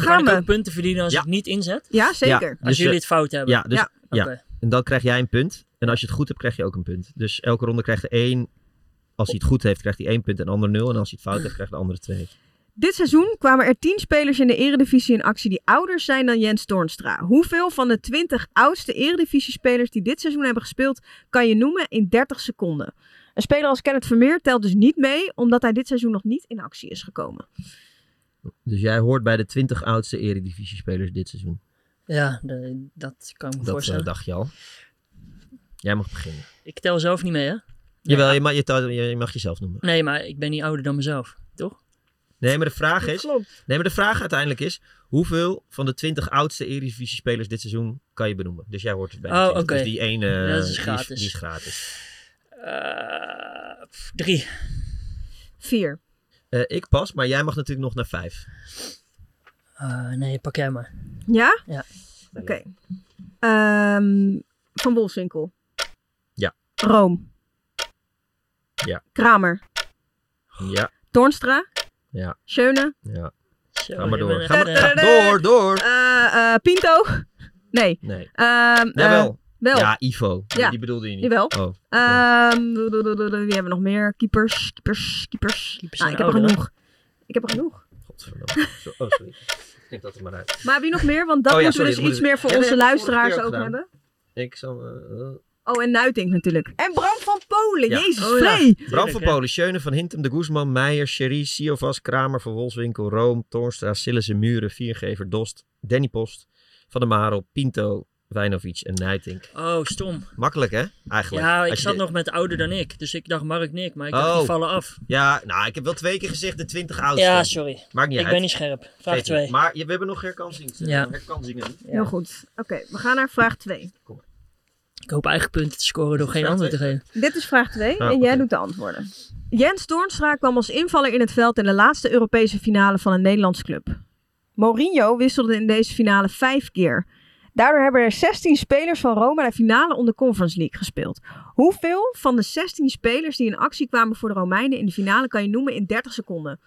Speaker 4: Kan
Speaker 2: gaan
Speaker 4: ik ook
Speaker 2: we.
Speaker 4: punten verdienen als
Speaker 1: Ja.
Speaker 4: ik niet inzet?
Speaker 2: Ja,
Speaker 1: Ja,
Speaker 2: zeker.
Speaker 4: Als
Speaker 1: dus,
Speaker 4: jullie
Speaker 1: eh,
Speaker 4: het fout hebben.
Speaker 1: Ja, dus,
Speaker 2: Ja.
Speaker 1: ja.
Speaker 4: Oké.
Speaker 1: En dan krijg jij een punt. En als je het goed hebt, krijg je ook een punt. Dus elke ronde krijgt er één. Als hij het goed heeft, krijgt hij één punt en de ander nul. En als hij het fout heeft, krijgt de andere twee.
Speaker 2: Dit seizoen kwamen er 10 spelers in de Eredivisie in actie die ouder zijn dan Jens Toornstra. Hoeveel van de 20 oudste Eredivisie-spelers die dit seizoen hebben gespeeld, kan je noemen in 30 seconden? Een speler als Kenneth Vermeer telt dus niet mee, omdat hij dit seizoen nog niet in actie is gekomen.
Speaker 1: Dus jij hoort bij de 20 oudste Eredivisie-spelers dit seizoen.
Speaker 4: Ja, de- dat kan ik me
Speaker 1: Dat
Speaker 4: voorstellen.
Speaker 1: eh, dacht je al. Jij mag beginnen.
Speaker 4: Ik tel zelf niet mee, hè?
Speaker 1: Jawel, je mag, je, tel- je mag jezelf noemen.
Speaker 4: Nee, maar ik ben niet ouder dan mezelf, toch?
Speaker 1: Nee, maar de vraag
Speaker 2: Dat
Speaker 1: is...
Speaker 2: klopt.
Speaker 1: Nee, maar de vraag uiteindelijk is: hoeveel van de 20 oudste Eredivisie-spelers dit seizoen kan je benoemen? Dus jij hoort het bij. de
Speaker 4: Oh,
Speaker 1: 20.
Speaker 4: oké.
Speaker 1: Dus die ene
Speaker 4: Ja, dat
Speaker 1: die
Speaker 4: is
Speaker 1: is
Speaker 4: gratis.
Speaker 1: Die is gratis.
Speaker 4: Eh, pff, drie.
Speaker 2: Vier.
Speaker 1: Eh, ik pas, maar jij mag natuurlijk nog naar vijf.
Speaker 4: Ah, nee, pak jij maar.
Speaker 2: Ja?
Speaker 4: Ja.
Speaker 2: Oké. Ehm, van Wolfswinkel.
Speaker 1: Ja.
Speaker 2: Room.
Speaker 1: Ja.
Speaker 2: Kramer.
Speaker 1: Ja,
Speaker 2: Toornstra.
Speaker 1: Ja.
Speaker 2: Schöne.
Speaker 1: ja.
Speaker 4: Zo,
Speaker 1: Ga maar
Speaker 4: je
Speaker 1: door.
Speaker 4: bent
Speaker 1: Ga maar,
Speaker 4: echt,
Speaker 1: ga-
Speaker 4: eh,
Speaker 1: door, door.
Speaker 2: Eh, eh, Pinto. Nee.
Speaker 1: Nee.
Speaker 2: Ehm, eh,
Speaker 1: Jawel.
Speaker 2: wel.
Speaker 1: Ja, Ivo. Die-
Speaker 2: Ja.
Speaker 1: Die bedoelde je niet.
Speaker 2: Jawel.
Speaker 1: Oh,
Speaker 2: Ehm, doe, doe, doe, doe, doe. wie hebben we nog meer? Keepers, keepers, keepers.
Speaker 4: Keepers zijn
Speaker 2: nou, ik heb er
Speaker 4: ouder, hè?
Speaker 2: genoeg. Ik heb er genoeg.
Speaker 1: godverdomme. Zo- Oh, sorry. Knip dat er maar uit.
Speaker 2: Maar wie nog meer? Want dat
Speaker 1: Oh ja,
Speaker 2: moeten
Speaker 1: sorry,
Speaker 2: we dus
Speaker 1: dat moet ik-
Speaker 2: iets meer voor
Speaker 1: Ja, dat
Speaker 2: onze
Speaker 1: heb ik vorige
Speaker 2: luisteraars
Speaker 1: keer ook
Speaker 2: ook
Speaker 1: gedaan.
Speaker 2: hebben.
Speaker 1: Ik zal. eh, eh,
Speaker 2: Oh, en Nuitink natuurlijk. En Bram van Polen.
Speaker 1: Ja.
Speaker 2: Jezus,
Speaker 4: Oh ja.
Speaker 2: Vree.
Speaker 1: Bram van
Speaker 4: Tuurlijk, hè.
Speaker 1: Polen, Schöne, Van Hintem, De Guzman, Meijer, Sherry, Siovas, Kramer, Van Wolfswinkel, Room, Toornstra, Sillissen, Muren, Viergever, Dost, Danny Post, Van der Marel, Pinto, Wijnovic en Nijtink.
Speaker 4: Oh, stom.
Speaker 1: Makkelijk hè, eigenlijk.
Speaker 4: Ja, ik
Speaker 1: Als je
Speaker 4: zat
Speaker 1: de-
Speaker 4: nog met ouder dan ik. Dus ik dacht Mark Nick, maar ik dacht,
Speaker 1: Oh.
Speaker 4: die vallen af.
Speaker 1: Ja, nou, ik heb wel twee keer gezegd de 20 oudste.
Speaker 4: Ja, sorry.
Speaker 1: Maakt niet
Speaker 4: ik
Speaker 1: uit.
Speaker 4: ben niet scherp. Vraag
Speaker 1: Geeft niet.
Speaker 4: 2.
Speaker 1: Maar je- we hebben nog herkansingen.
Speaker 4: Ja.
Speaker 1: herkansingen.
Speaker 4: Ja.
Speaker 2: Heel goed. Oké, we gaan naar vraag 2.
Speaker 4: Ik hoop eigen punten te scoren door geen
Speaker 1: Vraag
Speaker 4: antwoord te geven.
Speaker 2: Dit is vraag 2
Speaker 1: Ah,
Speaker 2: en jij
Speaker 1: oké.
Speaker 2: doet de antwoorden. Jens Toornstra kwam als invaller in het veld in de laatste Europese finale van een Nederlandse club. Mourinho wisselde in deze finale vijf keer. Daardoor hebben er 16 spelers van Roma de finale om de Conference League gespeeld. Hoeveel van de 16 spelers die in actie kwamen voor de Romeinen in de finale kan je noemen in 30 seconden?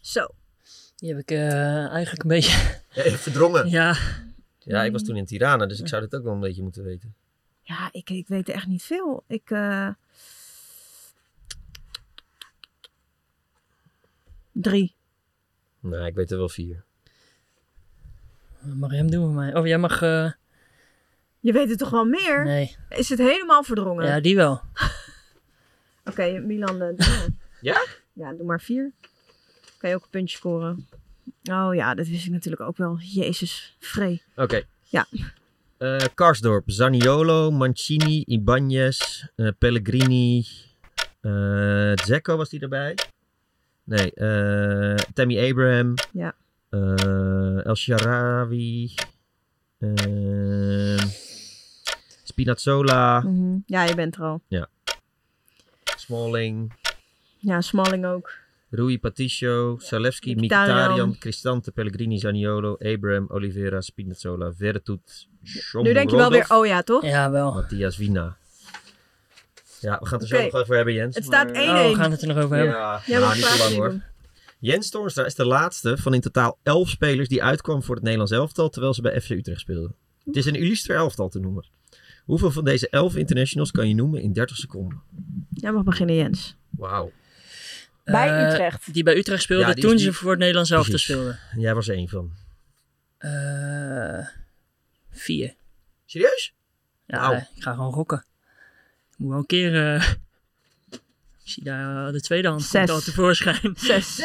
Speaker 2: Zo,
Speaker 4: Die heb ik eh, eigenlijk een beetje...
Speaker 1: Eh, verdrongen.
Speaker 4: Ja,
Speaker 1: Ja, ik was toen in Tirana, dus ik zou dit ook wel een beetje moeten weten.
Speaker 2: ja, ik, ik weet er echt niet veel. Ik, eh, Drie.
Speaker 1: Nou, ik weet er wel vier.
Speaker 4: mag hem doen voor mij. Of jij mag... eh,
Speaker 2: Je weet het toch wel meer?
Speaker 4: nee.
Speaker 2: Is het helemaal verdrongen?
Speaker 4: Ja, die wel.
Speaker 2: Oké, Milan. eh, doe maar.
Speaker 1: Ja?
Speaker 2: Ja, doe maar vier. Kan je ook een puntje scoren. Oh ja, dat wist ik natuurlijk ook wel. Jezus, vree.
Speaker 1: Oké.
Speaker 2: Ja.
Speaker 1: Eh, Karsdorp, Zaniolo, Mancini, Ibanez, eh, Pellegrini, eh Zecco was die erbij. Nee, eh, Tammy Abraham.
Speaker 2: Ja.
Speaker 1: Eh, El Sharawi. ehm, Spinazzola,
Speaker 4: Mhm.
Speaker 2: Ja, je bent er al.
Speaker 1: Smalling,
Speaker 2: Ja, Smalling ook.
Speaker 1: Rui Patricio, Salewski,
Speaker 2: Mkhitaryan.
Speaker 1: Mkhitaryan, Cristante, Pellegrini, Zaniolo, Abraham, Oliveira, Spinazzola, Vertut,
Speaker 2: nu denk je wel
Speaker 1: Shomurodov.
Speaker 2: weer, oh ja, toch?
Speaker 4: Ja, wel.
Speaker 1: Matthias Wina. Ja, we gaan het er zo
Speaker 2: Oké.
Speaker 1: nog over hebben, Jens.
Speaker 2: Het staat 1-1.
Speaker 4: Oh, we gaan het er nog over hebben.
Speaker 1: Ja,
Speaker 2: Jij mag
Speaker 1: nou, niet
Speaker 2: vragen
Speaker 1: zo lang
Speaker 2: nu
Speaker 1: hoor.
Speaker 2: doen.
Speaker 1: Jens Toornstra is de laatste van in totaal 11 spelers die uitkwam voor het Nederlands elftal terwijl ze bij FC Utrecht speelden. Het is een illustre elftal te noemen. Hoeveel van deze 11 internationals kan je noemen in 30 seconden?
Speaker 2: Jij mag beginnen, Jens.
Speaker 1: Wauw.
Speaker 5: Bij
Speaker 4: Eh,
Speaker 5: Utrecht.
Speaker 4: Die bij Utrecht speelde
Speaker 1: Ja, die is
Speaker 4: toen
Speaker 1: nu-
Speaker 4: ze voor het Nederlands elftal
Speaker 1: Precies.
Speaker 4: speelden.
Speaker 1: Jij was er één van.
Speaker 4: Eh, vier.
Speaker 1: Serieus?
Speaker 4: Ja,
Speaker 1: Wauw.
Speaker 4: ik ga gewoon gokken. Ik moet wel een keer... eh, ik zie daar eh, de tweede hand
Speaker 2: Zes.
Speaker 4: komt al tevoorschijn.
Speaker 2: Zes.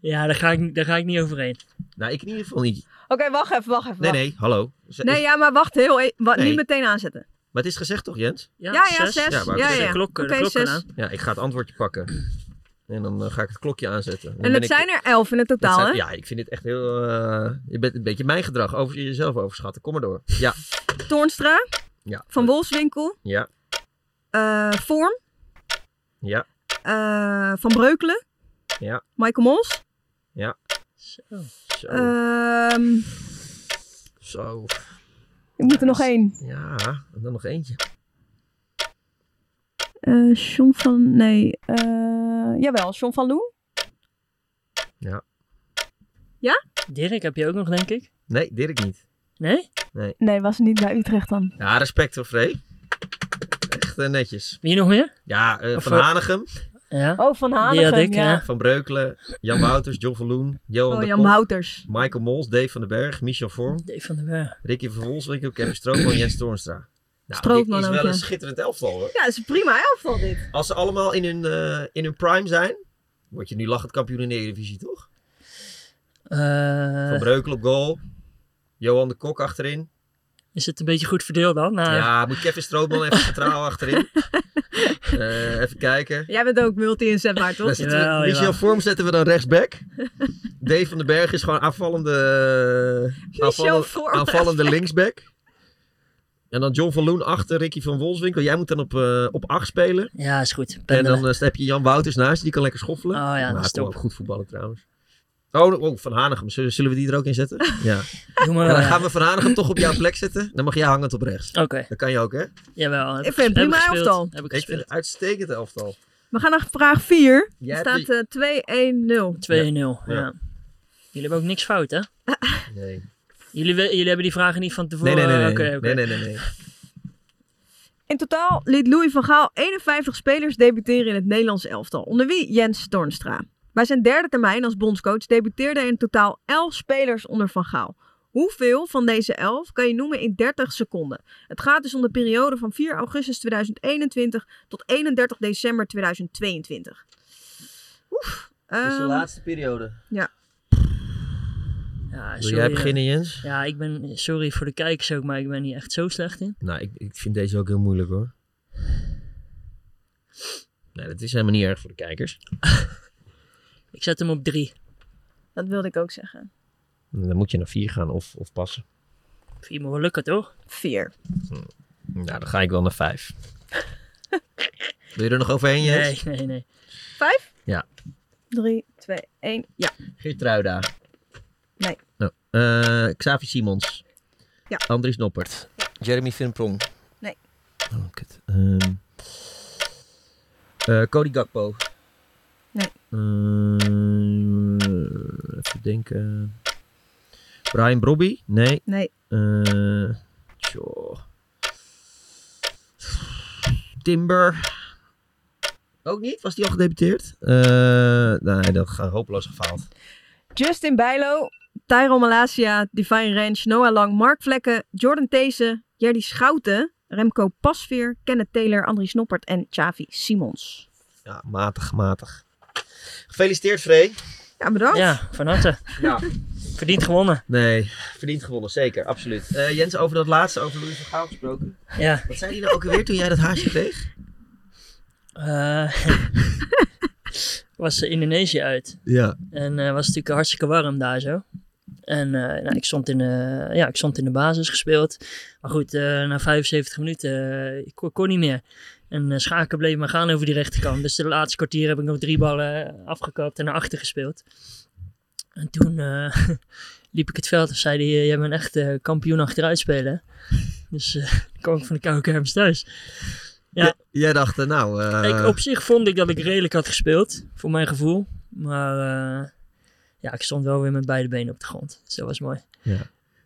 Speaker 4: Ja, daar ga ik, daar ga ik niet overheen.
Speaker 1: Nou, ik in ieder geval niet.
Speaker 5: Oké, wacht even, wacht even.
Speaker 1: Nee,
Speaker 5: wacht.
Speaker 1: nee, hallo. Z-
Speaker 2: Nee,
Speaker 1: is-
Speaker 2: ja, maar wacht heel e- wa-
Speaker 1: Nee.
Speaker 2: Niet meteen aanzetten.
Speaker 1: Maar het is gezegd toch, Jens?
Speaker 2: Ja, ja, zes.
Speaker 1: Ja, maar
Speaker 2: ja,
Speaker 1: het is
Speaker 2: ja.
Speaker 4: De klok,
Speaker 2: Oké,
Speaker 4: de klok
Speaker 2: zes.
Speaker 4: eraan.
Speaker 1: Ja, ik ga het antwoordje pakken. En dan eh, ga ik het klokje aanzetten. Dan
Speaker 2: En
Speaker 1: ben
Speaker 2: het
Speaker 1: ik-
Speaker 2: zijn er elf in het
Speaker 1: Dat
Speaker 2: totaal,
Speaker 1: zijn-
Speaker 2: hè?
Speaker 1: Ja, ik vind dit echt heel... eh, je bent een beetje mijn gedrag. Over jezelf overschatten. Kom maar door. Ja.
Speaker 2: Toornstra,
Speaker 1: ja.
Speaker 2: Van Wolfswinkel,
Speaker 1: Ja.
Speaker 2: eh, Vorm,
Speaker 1: Ja.
Speaker 2: eh, Van Breukelen,
Speaker 1: Ja. Oh.
Speaker 2: Michael Mols.
Speaker 1: Zo.
Speaker 2: Ehm,
Speaker 1: Zo.
Speaker 2: ik moet er nog één.
Speaker 1: Ja. En dan nog eentje.
Speaker 2: Eh, John van... Nee. eh, jawel, John van Loen.
Speaker 4: Dirk heb je ook nog, denk ik.
Speaker 1: Nee, Dirk niet.
Speaker 4: Nee?
Speaker 2: Nee, was niet bij Utrecht dan.
Speaker 1: Ja, respect hoor, Free. Echt eh, netjes.
Speaker 4: Wie nog meer?
Speaker 1: Ja, eh,
Speaker 4: Of,
Speaker 1: Van
Speaker 4: eh,
Speaker 1: Hanegem.
Speaker 4: Ja,
Speaker 5: Oh, Van
Speaker 4: die had
Speaker 5: Hanegem,
Speaker 4: ik.
Speaker 5: ja.
Speaker 4: Ja.
Speaker 1: Van Breukelen, Jan Wouters, John Verloen, Johan
Speaker 2: Oh,
Speaker 1: de
Speaker 2: Jan
Speaker 1: Kok,
Speaker 2: Wouters.
Speaker 1: Michael Mols, Dave van den Berg, Michel Vorm,
Speaker 4: Dave van der Berg.
Speaker 1: Ricky van Volswinkel, Kevin Stroopman, Jens Toornstra. Nou, dit
Speaker 2: Strootman
Speaker 1: is
Speaker 2: ook,
Speaker 1: wel
Speaker 2: ja.
Speaker 1: een schitterend elftal hoor.
Speaker 2: Ja, dat is een prima elftal dit.
Speaker 1: Als ze allemaal in hun, eh, in hun prime zijn, word je nu lachend kampioen in de Eredivisie toch?
Speaker 4: Eh,
Speaker 1: Van Breukelen op goal, Johan de Kok achterin.
Speaker 4: is het een beetje goed verdeeld dan? Nou,
Speaker 1: Ja, moet Kevin Stroopman even centraal achterin. Eh, even kijken.
Speaker 2: Jij bent ook multi-inzetbaar, toch?
Speaker 1: Dan zetten we-
Speaker 4: Jawel, jawel.
Speaker 1: Michel Vorm zetten we dan rechtsback. Dave van den Berg is gewoon aanvallende, aanvallen-
Speaker 2: Vorm.
Speaker 1: aanvallende linksback. En dan John van Loen achter Ricky van Wolfswinkel. Jij moet dan op, eh op acht spelen.
Speaker 4: ja, is goed.
Speaker 1: En dan
Speaker 4: Pendelen.
Speaker 1: eh, heb je Jan Wouters naast je. Die kan lekker schoffelen.
Speaker 4: Oh ja, dat
Speaker 1: maar
Speaker 4: is
Speaker 1: hij kon
Speaker 4: top.
Speaker 1: ook goed voetballen trouwens. Oh, oh, Van Hanegem. Zullen, zullen we die er ook in zetten? Ja.
Speaker 4: Doe maar,
Speaker 1: En dan
Speaker 4: eh,
Speaker 1: gaan we Van Hanegem toch op jouw plek zetten. Dan mag jij hangend op rechts.
Speaker 4: Oké,
Speaker 1: Dat kan je ook, hè?
Speaker 4: jawel. heb
Speaker 2: Ik vind het
Speaker 4: heb
Speaker 2: prima
Speaker 4: gespeeld,
Speaker 2: elftal.
Speaker 4: Heb ik
Speaker 1: Ik vind
Speaker 4: gespeeld.
Speaker 1: het uitstekend elftal.
Speaker 2: We gaan naar vraag 4.
Speaker 1: Jij
Speaker 2: Er
Speaker 1: hebt
Speaker 2: staat
Speaker 1: die-
Speaker 2: eh, 2-1-0.
Speaker 4: 2-0. Ja.
Speaker 1: Ja.
Speaker 4: Jullie hebben ook niks fout, hè?
Speaker 1: Nee.
Speaker 4: Jullie, we- jullie hebben die vragen niet van
Speaker 1: Nee,
Speaker 4: tevoren.
Speaker 1: nee, nee. nee.
Speaker 4: eh, oké, oké.
Speaker 1: nee, nee, nee, nee.
Speaker 2: In totaal liet Louis van Gaal 51 spelers debuteren in het Nederlands elftal. Onder wie Jens Toornstra. Bij zijn derde termijn als bondscoach debuteerden in totaal 11 spelers onder Van Gaal. Hoeveel van deze 11 kan je noemen in 30 seconden? Het gaat dus om de periode van 4 augustus 2021 tot 31 december 2022. Oef.
Speaker 6: is de
Speaker 2: ehm,
Speaker 6: laatste periode.
Speaker 4: Ja,
Speaker 1: Wil
Speaker 4: sorry,
Speaker 1: Dus jij
Speaker 4: eh.
Speaker 1: beginnen, Jens?
Speaker 4: Ja, ik ben, sorry voor de kijkers ook, maar ik ben hier echt zo slecht in.
Speaker 1: Nou, ik, ik vind deze ook heel moeilijk hoor. Nee, dat is helemaal niet erg voor de kijkers.
Speaker 4: Ik zet hem op drie.
Speaker 2: dat wilde ik ook zeggen.
Speaker 1: Dan moet je naar vier gaan of, of passen.
Speaker 4: Vier moet wel lukken, toch?
Speaker 2: 4.
Speaker 1: Nou, dan ga ik wel naar vijf. Wil je er nog overheen, Jens?
Speaker 4: Nee, nee, nee.
Speaker 2: 5?
Speaker 1: Ja.
Speaker 2: 3, 2, 1. Ja.
Speaker 1: Geertruida.
Speaker 2: Nee.
Speaker 1: Oh. Eh, Xavi Simons.
Speaker 2: Ja.
Speaker 1: Andries Noppert. Jeremy Finprong.
Speaker 2: Nee.
Speaker 1: Oh, kut. Ehm, eh, Cody Gakpo.
Speaker 2: Nee.
Speaker 1: Ehm, even denken. Brian Brobby. Nee.
Speaker 2: Nee.
Speaker 1: Eh, tjoh. Timber. Ook niet? Was die al gedebuteerd? Eh, nee, dat gaat hopeloos gefaald.
Speaker 2: Justin Bijlo, Tyrone Malasia, Divine Range, Noah Lang, Mark Vlekken, Jordan These, Jerdy Schouten, Remco Pasveer, Kenneth Taylor, Andries Noppert en Xavi Simons.
Speaker 1: Ja, matig, matig. Gefeliciteerd, Free.
Speaker 2: Ja, bedankt.
Speaker 4: Ja, van harte.
Speaker 1: Ja.
Speaker 4: Verdient gewonnen.
Speaker 1: Nee, verdiend gewonnen, zeker, absoluut. Eh, Jens, over dat laatste, over Louis van Gaal gesproken.
Speaker 4: Ja.
Speaker 1: Wat zei die nou ook alweer toen jij dat haasje kreeg?
Speaker 4: eh, was eh, Indonesië uit.
Speaker 1: Ja.
Speaker 4: En eh, was natuurlijk hartstikke warm daar zo. En eh, nou, ik, stond in, de- ja, ik stond in de basis gespeeld. Maar goed, eh, na 75 minuten, eh, ik kon, kon niet meer. En eh, Schaken bleef maar gaan over die rechterkant. Dus de laatste kwartier heb ik nog drie ballen afgekapt en naar achter gespeeld. En toen eh, liep ik het veld en zei hij, jij bent echt eh, kampioen achteruit spelen. Dus eh dan kwam ik van de koude kermis thuis.
Speaker 1: Jij dacht, eh, nou... eh,
Speaker 4: Ik, op zich vond ik dat ik redelijk had gespeeld, voor mijn gevoel. Maar eh, ja, ik stond wel weer met beide benen op de grond. Dus dat was mooi.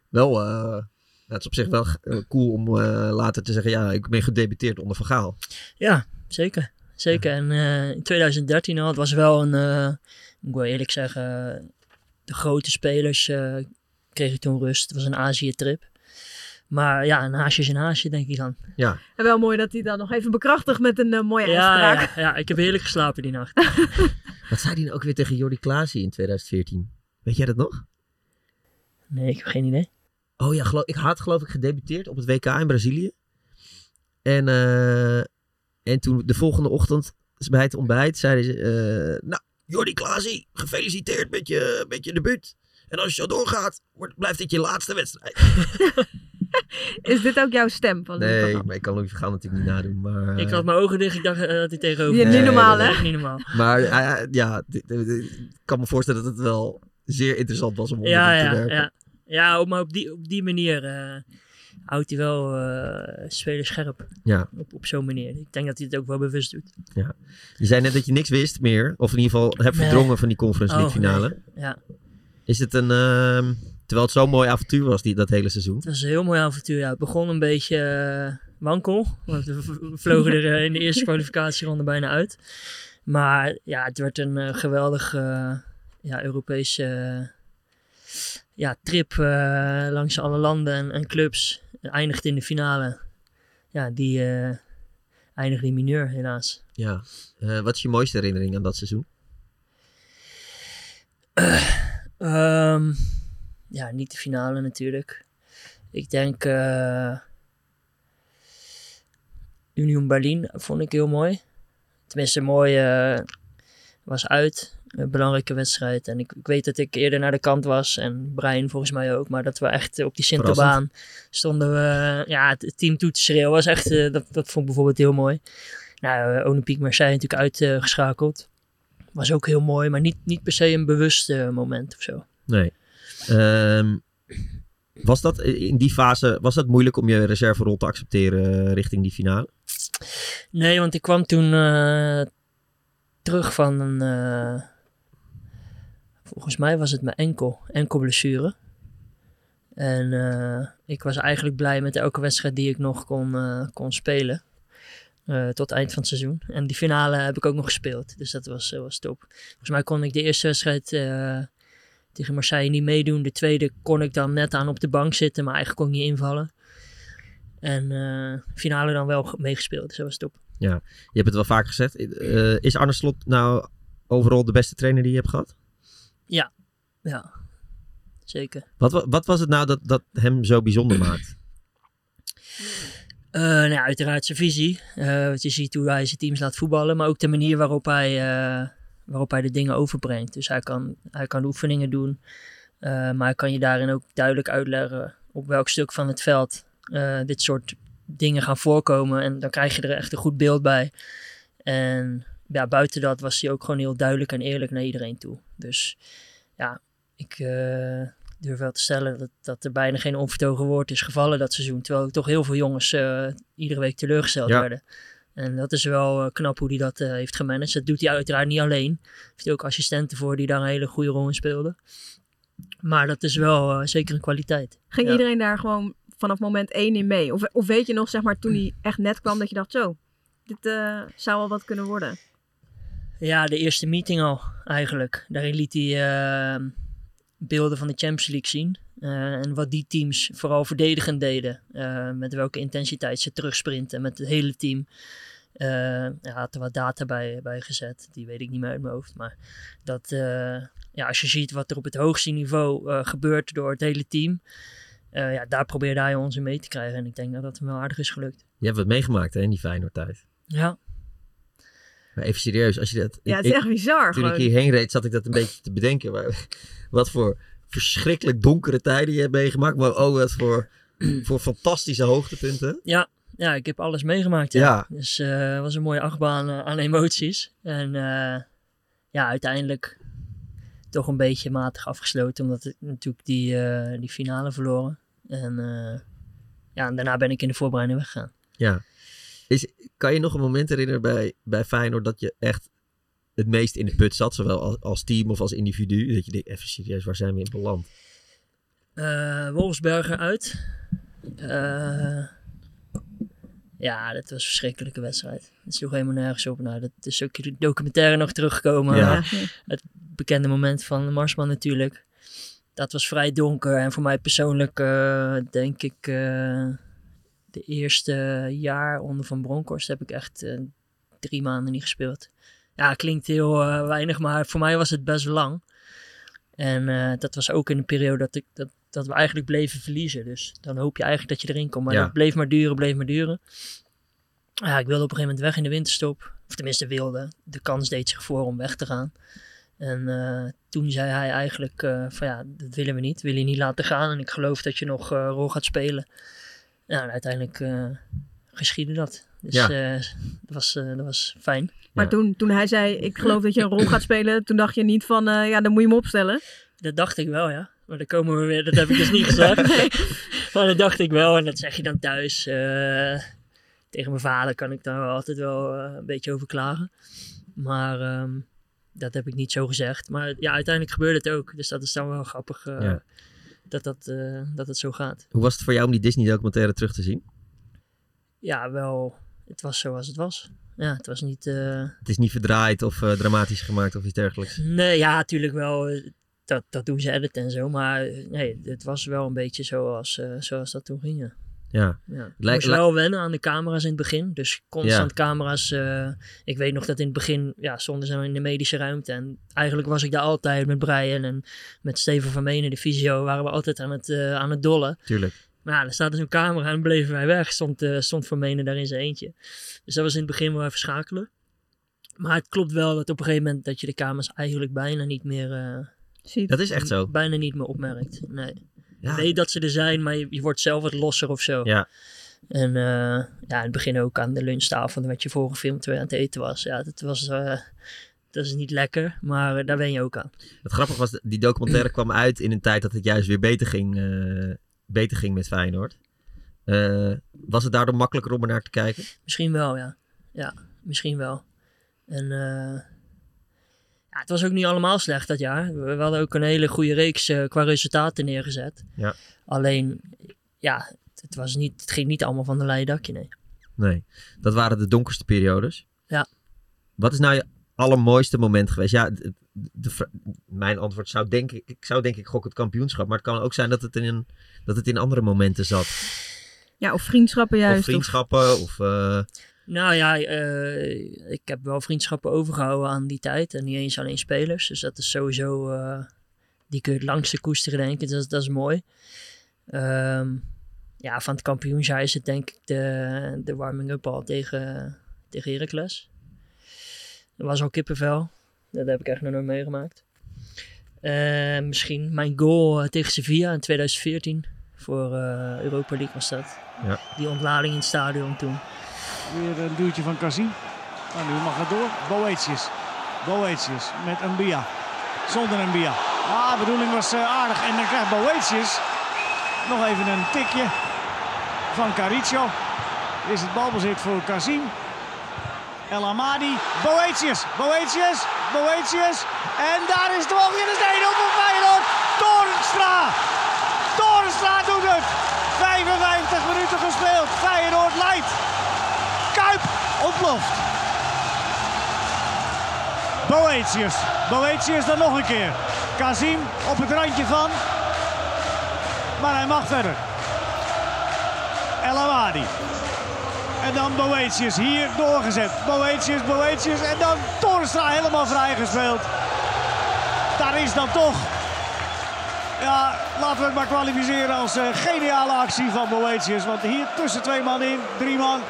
Speaker 1: Wel, eh, nou, het is op zich wel eh, cool om eh, later te zeggen, ja, ik ben gedebuteerd onder Van Gaal.
Speaker 4: Ja, zeker. Zeker. En eh, in 2013 al, het was wel een, eh, ik wil eerlijk zeggen, de grote spelers eh, kreeg ik toen rust. Het was een Azië-trip. Maar ja, een haasje is een haasje, denk ik dan.
Speaker 2: En wel mooi dat hij dat nog even bekrachtigt met een eh, mooie
Speaker 4: ja,
Speaker 2: uitspraak.
Speaker 4: ja, ja, ik heb heerlijk geslapen die nacht.
Speaker 1: Wat zei die nou ook weer tegen Jordi Klaasie in 2014? Weet jij dat nog?
Speaker 4: Nee, ik heb geen idee.
Speaker 1: Oh ja, geloof, ik had geloof ik gedebuteerd op het WK in Brazilië. En, eh, en toen de volgende ochtend bij het ontbijt zeiden ze... eh, nou, Jordi Klaasie, gefeliciteerd met je, met je debuut. En als je zo doorgaat, wordt, blijft dit je laatste wedstrijd.
Speaker 2: Is dit ook jouw stem? Van Louis van
Speaker 1: Nee,
Speaker 2: Gaal?
Speaker 1: maar ik kan Louis van Gaal natuurlijk niet nadoen. Maar, eh,
Speaker 4: Ik had mijn ogen dicht, ik dacht eh, dat hij tegenover
Speaker 2: Ja,
Speaker 4: me
Speaker 1: niet
Speaker 4: zat.
Speaker 1: normaal,
Speaker 4: Dat is
Speaker 2: hè?
Speaker 4: echt Niet normaal.
Speaker 1: maar eh, ja, dit- dit- dit- ik kan me voorstellen dat het wel zeer interessant was om onder
Speaker 4: Ja,
Speaker 1: hem te
Speaker 4: ja,
Speaker 1: werken.
Speaker 4: ja. Ja, op- maar op die, op die manier eh, houdt hij wel eh spelers scherp.
Speaker 1: Ja.
Speaker 4: Op, op zo'n manier. Ik denk dat hij het ook wel bewust doet.
Speaker 1: Je zei net dat je niks wist meer. Of in ieder geval hebt
Speaker 4: Nee.
Speaker 1: verdrongen van die Conference League
Speaker 4: Oh,
Speaker 1: finale.
Speaker 4: nee. Ja,
Speaker 1: Is het een... ehm, terwijl het zo'n mooi avontuur was die, dat hele seizoen.
Speaker 4: het was een heel mooi avontuur. Ja, het begon een beetje eh, wankel. Want we v- vlogen er eh, in de eerste kwalificatieronde bijna uit. Maar ja, het werd een eh, geweldige eh, ja, Europese eh, ja, trip eh, langs alle landen en, en clubs. Eindigt in de finale. Ja, die eh, eindigde in mineur helaas.
Speaker 1: Ja. Eh, wat is je mooiste herinnering aan dat seizoen?
Speaker 4: Ehm, ja, niet de finale natuurlijk. Ik denk eh, Union Berlin vond ik heel mooi. Tenminste, mooi eh, was uit. Een belangrijke wedstrijd. En ik, ik weet dat ik eerder naar de kant was. En Brian volgens mij ook. Maar dat we echt op die Sinterbaan stonden. We, ja, het, het team toe te schreeuwen was echt... eh, dat, dat vond ik bijvoorbeeld heel mooi. Nou, eh, Olympique Marseille natuurlijk uitgeschakeld. was ook heel mooi. Maar niet, niet per se een bewust eh, moment of zo.
Speaker 1: Nee. Ehm, was dat in die fase was dat moeilijk om je reserverol te accepteren eh, richting die finale?
Speaker 4: Nee, want ik kwam toen eh, terug van een. eh, volgens mij was het mijn enkel, enkelblessure. En eh, ik was eigenlijk blij met elke wedstrijd die ik nog kon, eh, kon spelen. eh, tot eind van het seizoen. En die finale heb ik ook nog gespeeld. Dus dat was, eh, was top. Volgens mij kon ik de eerste wedstrijd eh, tegen Marseille niet meedoen. De tweede kon ik dan net aan op de bank zitten. Maar eigenlijk kon ik niet invallen. En eh, finale dan wel ge- meegespeeld. Dus dat was top.
Speaker 1: Je hebt het wel vaak gezegd. Eh, is Arne Slot nou overal de beste trainer die je hebt gehad?
Speaker 4: Ja, zeker.
Speaker 1: Wat, wa- wat was het nou dat, dat hem zo bijzonder maakt?
Speaker 4: Eh, nou ja, uiteraard zijn visie. eh, wat je ziet hoe hij zijn teams laat voetballen. Maar ook de manier waarop hij, eh, waarop hij de dingen overbrengt. Dus hij kan, hij kan de oefeningen doen. eh, maar hij kan je daarin ook duidelijk uitleggen op welk stuk van het veld eh, dit soort dingen gaan voorkomen. En dan krijg je er echt een goed beeld bij. En ja, buiten dat was hij ook gewoon heel duidelijk en eerlijk naar iedereen toe. Dus ja, ik eh, durf wel te stellen dat, dat er bijna geen onvertogen woord is gevallen dat seizoen. Terwijl er toch heel veel jongens eh, iedere week teleurgesteld
Speaker 1: Ja.
Speaker 4: werden. En dat is wel eh, knap hoe hij dat eh, heeft gemanaged. Dat doet hij uiteraard niet alleen. Er heeft ook assistenten voor die daar een hele goede rol in speelden. Maar dat is wel eh, zeker een kwaliteit.
Speaker 2: Ging
Speaker 4: Ja.
Speaker 2: iedereen daar gewoon vanaf moment één in mee? Of, of weet je nog, zeg maar, toen hij echt net kwam, dat je dacht, zo, dit eh, zou wel wat kunnen worden.
Speaker 4: Ja, de eerste meeting al eigenlijk. Daarin liet hij eh, beelden van de Champions League zien. Eh, en wat die teams vooral verdedigend deden. Eh, met welke intensiteit ze terugsprinten met het hele team. Eh, hij had er wat data bij, bij gezet. Die weet ik niet meer uit mijn hoofd. Maar dat, eh, ja, als je ziet wat er op het hoogste niveau eh, gebeurt door het hele team. eh, ja, daar probeerde hij ons in mee te krijgen. En ik denk dat dat hem wel aardig is gelukt.
Speaker 1: Je hebt wat meegemaakt hè, in die Feyenoord tijd.
Speaker 4: Ja,
Speaker 1: Maar even serieus, als je dat...
Speaker 2: Ja, het
Speaker 1: ik-
Speaker 2: is
Speaker 1: ik-
Speaker 2: echt bizar
Speaker 1: toen ik
Speaker 2: gewoon.
Speaker 1: hierheen reed, zat ik dat een beetje te bedenken. Maar, wat voor verschrikkelijk donkere tijden je hebt meegemaakt. Maar oh, wat voor, voor fantastische hoogtepunten.
Speaker 4: ja ik heb alles meegemaakt. ja.
Speaker 1: Ja,
Speaker 4: Dus eh, het was een mooie achtbaan eh, aan emoties. En eh, ja, uiteindelijk toch een beetje matig afgesloten. Omdat ik natuurlijk die, eh, die finale verloren. En eh, ja, en daarna ben ik in de voorbereiding weggegaan.
Speaker 1: kan je nog een moment herinneren bij, bij Feyenoord dat je echt het meest in de put zat? Zowel als, als team of als individu. Dat je denkt, even serieus, waar zijn we in beland?
Speaker 4: Eh Wolfsberger uit. Eh, ja, dat was een verschrikkelijke wedstrijd. Het sloeg helemaal nergens op. Nou, dat is ook in de documentaire nog teruggekomen.
Speaker 1: Ja.
Speaker 2: Ja.
Speaker 4: bekende moment van Marsman natuurlijk. Dat was vrij donker en voor mij persoonlijk eh, denk ik eh, de eerste jaar onder Van Bronckhorst heb ik echt eh, drie maanden niet gespeeld. Ja, klinkt heel eh, weinig, maar voor mij was het best lang. En eh, dat was ook in de periode dat, ik, dat, dat we eigenlijk bleven verliezen. Dus dan hoop je eigenlijk dat je erin komt. Maar
Speaker 1: Ja.
Speaker 4: dat bleef maar duren, bleef maar duren. Ja, ik wilde op een gegeven moment weg in de winterstop. Of tenminste wilde. De kans deed zich voor om weg te gaan. En eh, toen zei hij eigenlijk eh, van ja, dat willen we niet. Wil je niet laten gaan en ik geloof dat je nog eh, een rol gaat spelen. Nou, en uiteindelijk eh geschiedde dat. Dus
Speaker 1: Ja.
Speaker 4: eh, dat, was, eh, dat was fijn.
Speaker 2: Maar
Speaker 1: Ja.
Speaker 2: toen, toen hij zei, ik geloof dat je een rol gaat spelen, toen dacht je niet van, eh, ja, dan moet je hem opstellen.
Speaker 4: Dat dacht ik wel, ja. Maar daar komen we weer, dat heb ik dus niet gezegd. maar dat dacht ik wel en dat zeg je dan thuis. eh, tegen mijn vader kan ik daar wel altijd wel eh, een beetje over klagen. Maar ehm, dat heb ik niet zo gezegd. Maar ja, uiteindelijk gebeurde het ook. Dus dat is dan wel grappig eh,
Speaker 1: Ja.
Speaker 4: dat, dat, eh, dat het zo gaat.
Speaker 1: Hoe was het voor jou om die Disney documentaire terug te zien?
Speaker 4: ja, wel. het was zoals het was. Ja, het was niet... eh,
Speaker 1: Het is niet verdraaid of eh, dramatisch gemaakt of iets dergelijks.
Speaker 4: Nee, ja, natuurlijk wel. eh, Dat, dat doen ze edit en zo. Maar eh, nee, het was wel een beetje zoals, eh, zoals dat toen ging. ja.
Speaker 1: Ja.
Speaker 4: Ja. Ik
Speaker 1: Lijkt-
Speaker 4: moest wel wennen aan de camera's in het begin. Dus constant camera's. eh, ik weet nog dat in het begin ja, stonden ze in de medische ruimte. En eigenlijk was ik daar altijd met Brian en met Steven van Menen, de fysio, waren we altijd aan het, eh, aan het dollen.
Speaker 1: Tuurlijk.
Speaker 4: Maar ja, er staat dus een camera en bleven wij weg. Stond, eh, stond Van Menen daar in zijn eentje. Dus dat was in het begin wel even schakelen. Maar het klopt wel dat op een gegeven moment dat je de camera's eigenlijk bijna niet meer, eh,
Speaker 2: Ziet.
Speaker 1: Dat is echt zo.
Speaker 4: bijna niet meer opmerkt. Nee.
Speaker 1: Ja.
Speaker 4: Je weet dat ze er zijn, maar je, je wordt zelf wat losser of zo.
Speaker 1: Ja.
Speaker 4: En eh, ja, in het begin ook aan de lunchtafel, dan werd je voorgefilmd terwijl je aan het eten was. Ja, dat was... eh, dat is niet lekker, maar eh, daar ben je ook aan.
Speaker 1: Het grappige was, die documentaire kwam uit in een tijd dat het juist weer beter ging, eh, beter ging met Feyenoord. Eh, was het daardoor makkelijker om er naar te kijken?
Speaker 4: Misschien wel, ja. Ja, misschien wel. En eh, ja, het was ook niet allemaal slecht dat jaar. We, we hadden ook een hele goede reeks eh, qua resultaten neergezet.
Speaker 1: Ja.
Speaker 4: Alleen, ja, het, het was niet, het ging niet allemaal van een leien dakje, nee.
Speaker 1: Nee. Dat waren de donkerste periodes.
Speaker 4: Ja.
Speaker 1: Wat is nou je allermooiste moment geweest? Ja, de, de vra- mijn antwoord zou denk ik, ik zou denk ik gok het kampioenschap. Maar het kan ook zijn dat het in, een, dat het in andere momenten zat.
Speaker 2: Ja, of vriendschappen juist.
Speaker 1: of
Speaker 2: of-
Speaker 1: vriendschappen. Of, eh,
Speaker 4: Nou ja, eh, ik heb wel vriendschappen overgehouden aan die tijd. En niet eens alleen spelers. Dus dat is sowieso... eh, die kun je het langste koesteren, denk ik. Dat, is- dat is mooi. Ehm, ja, van het kampioensjaar is het denk ik de, de warming-up al tegen, tegen Heracles. Dat was al kippenvel. Dat heb ik echt nog nooit meegemaakt. Eh, misschien mijn goal eh, tegen Sevilla in 2014. Voor eh, Europa League was dat.
Speaker 1: Ja.
Speaker 4: Die ontlading in het stadion toen.
Speaker 7: Weer een duwtje van Kazim. Nou, nu mag het door. Boetius. Boetius met een Bia. Zonder een Bia. Ah, de bedoeling was eh, aardig. En dan krijgt Boetius nog even een tikje van Caricio. Is het balbezit voor Kazim. El Amadi. Boetius. Boetius. Boetius. En daar is de bal weer de 1-0 voor Feyenoord. Toornstra. Toornstra doet het. 55 minuten gespeeld. Feyenoord leidt. Kuip ontploft. Boetius. Boetius dan nog een keer. Kazim op het randje van. Maar hij mag verder. El Awadi. En dan Boetius hier doorgezet. Boetius, Boetius. En dan Torstra helemaal vrijgespeeld. Daar is dan toch. Ja, laten we het maar kwalificeren als eh, geniale actie van Boetius. Want hier tussen twee man in, drie man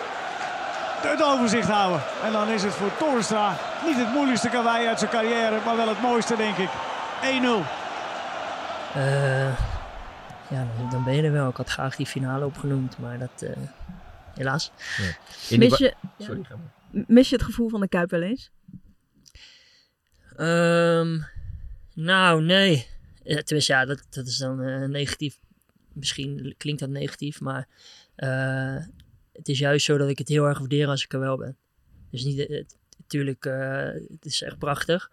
Speaker 7: het overzicht houden. En dan is het voor Torstra niet het moeilijkste karwei uit zijn carrière, maar wel het mooiste, denk ik. 1-0.
Speaker 4: Eh, ja, dan- dan ben je er wel. Ik had graag die finale opgenoemd, maar dat eh, helaas.
Speaker 1: in die
Speaker 2: Mis
Speaker 1: ba-
Speaker 2: je,
Speaker 1: Sorry, ga maar.
Speaker 2: mis je het gevoel van de Kuip wel eens?
Speaker 4: Ehm, nou, nee. Ja, tenminste, ja, dat, dat is dan eh, negatief. Misschien klinkt dat negatief, maar eh, het is juist zo dat ik het heel erg waardeer als ik er wel ben. Dus niet, eh, het- natuurlijk, eh, het is echt prachtig.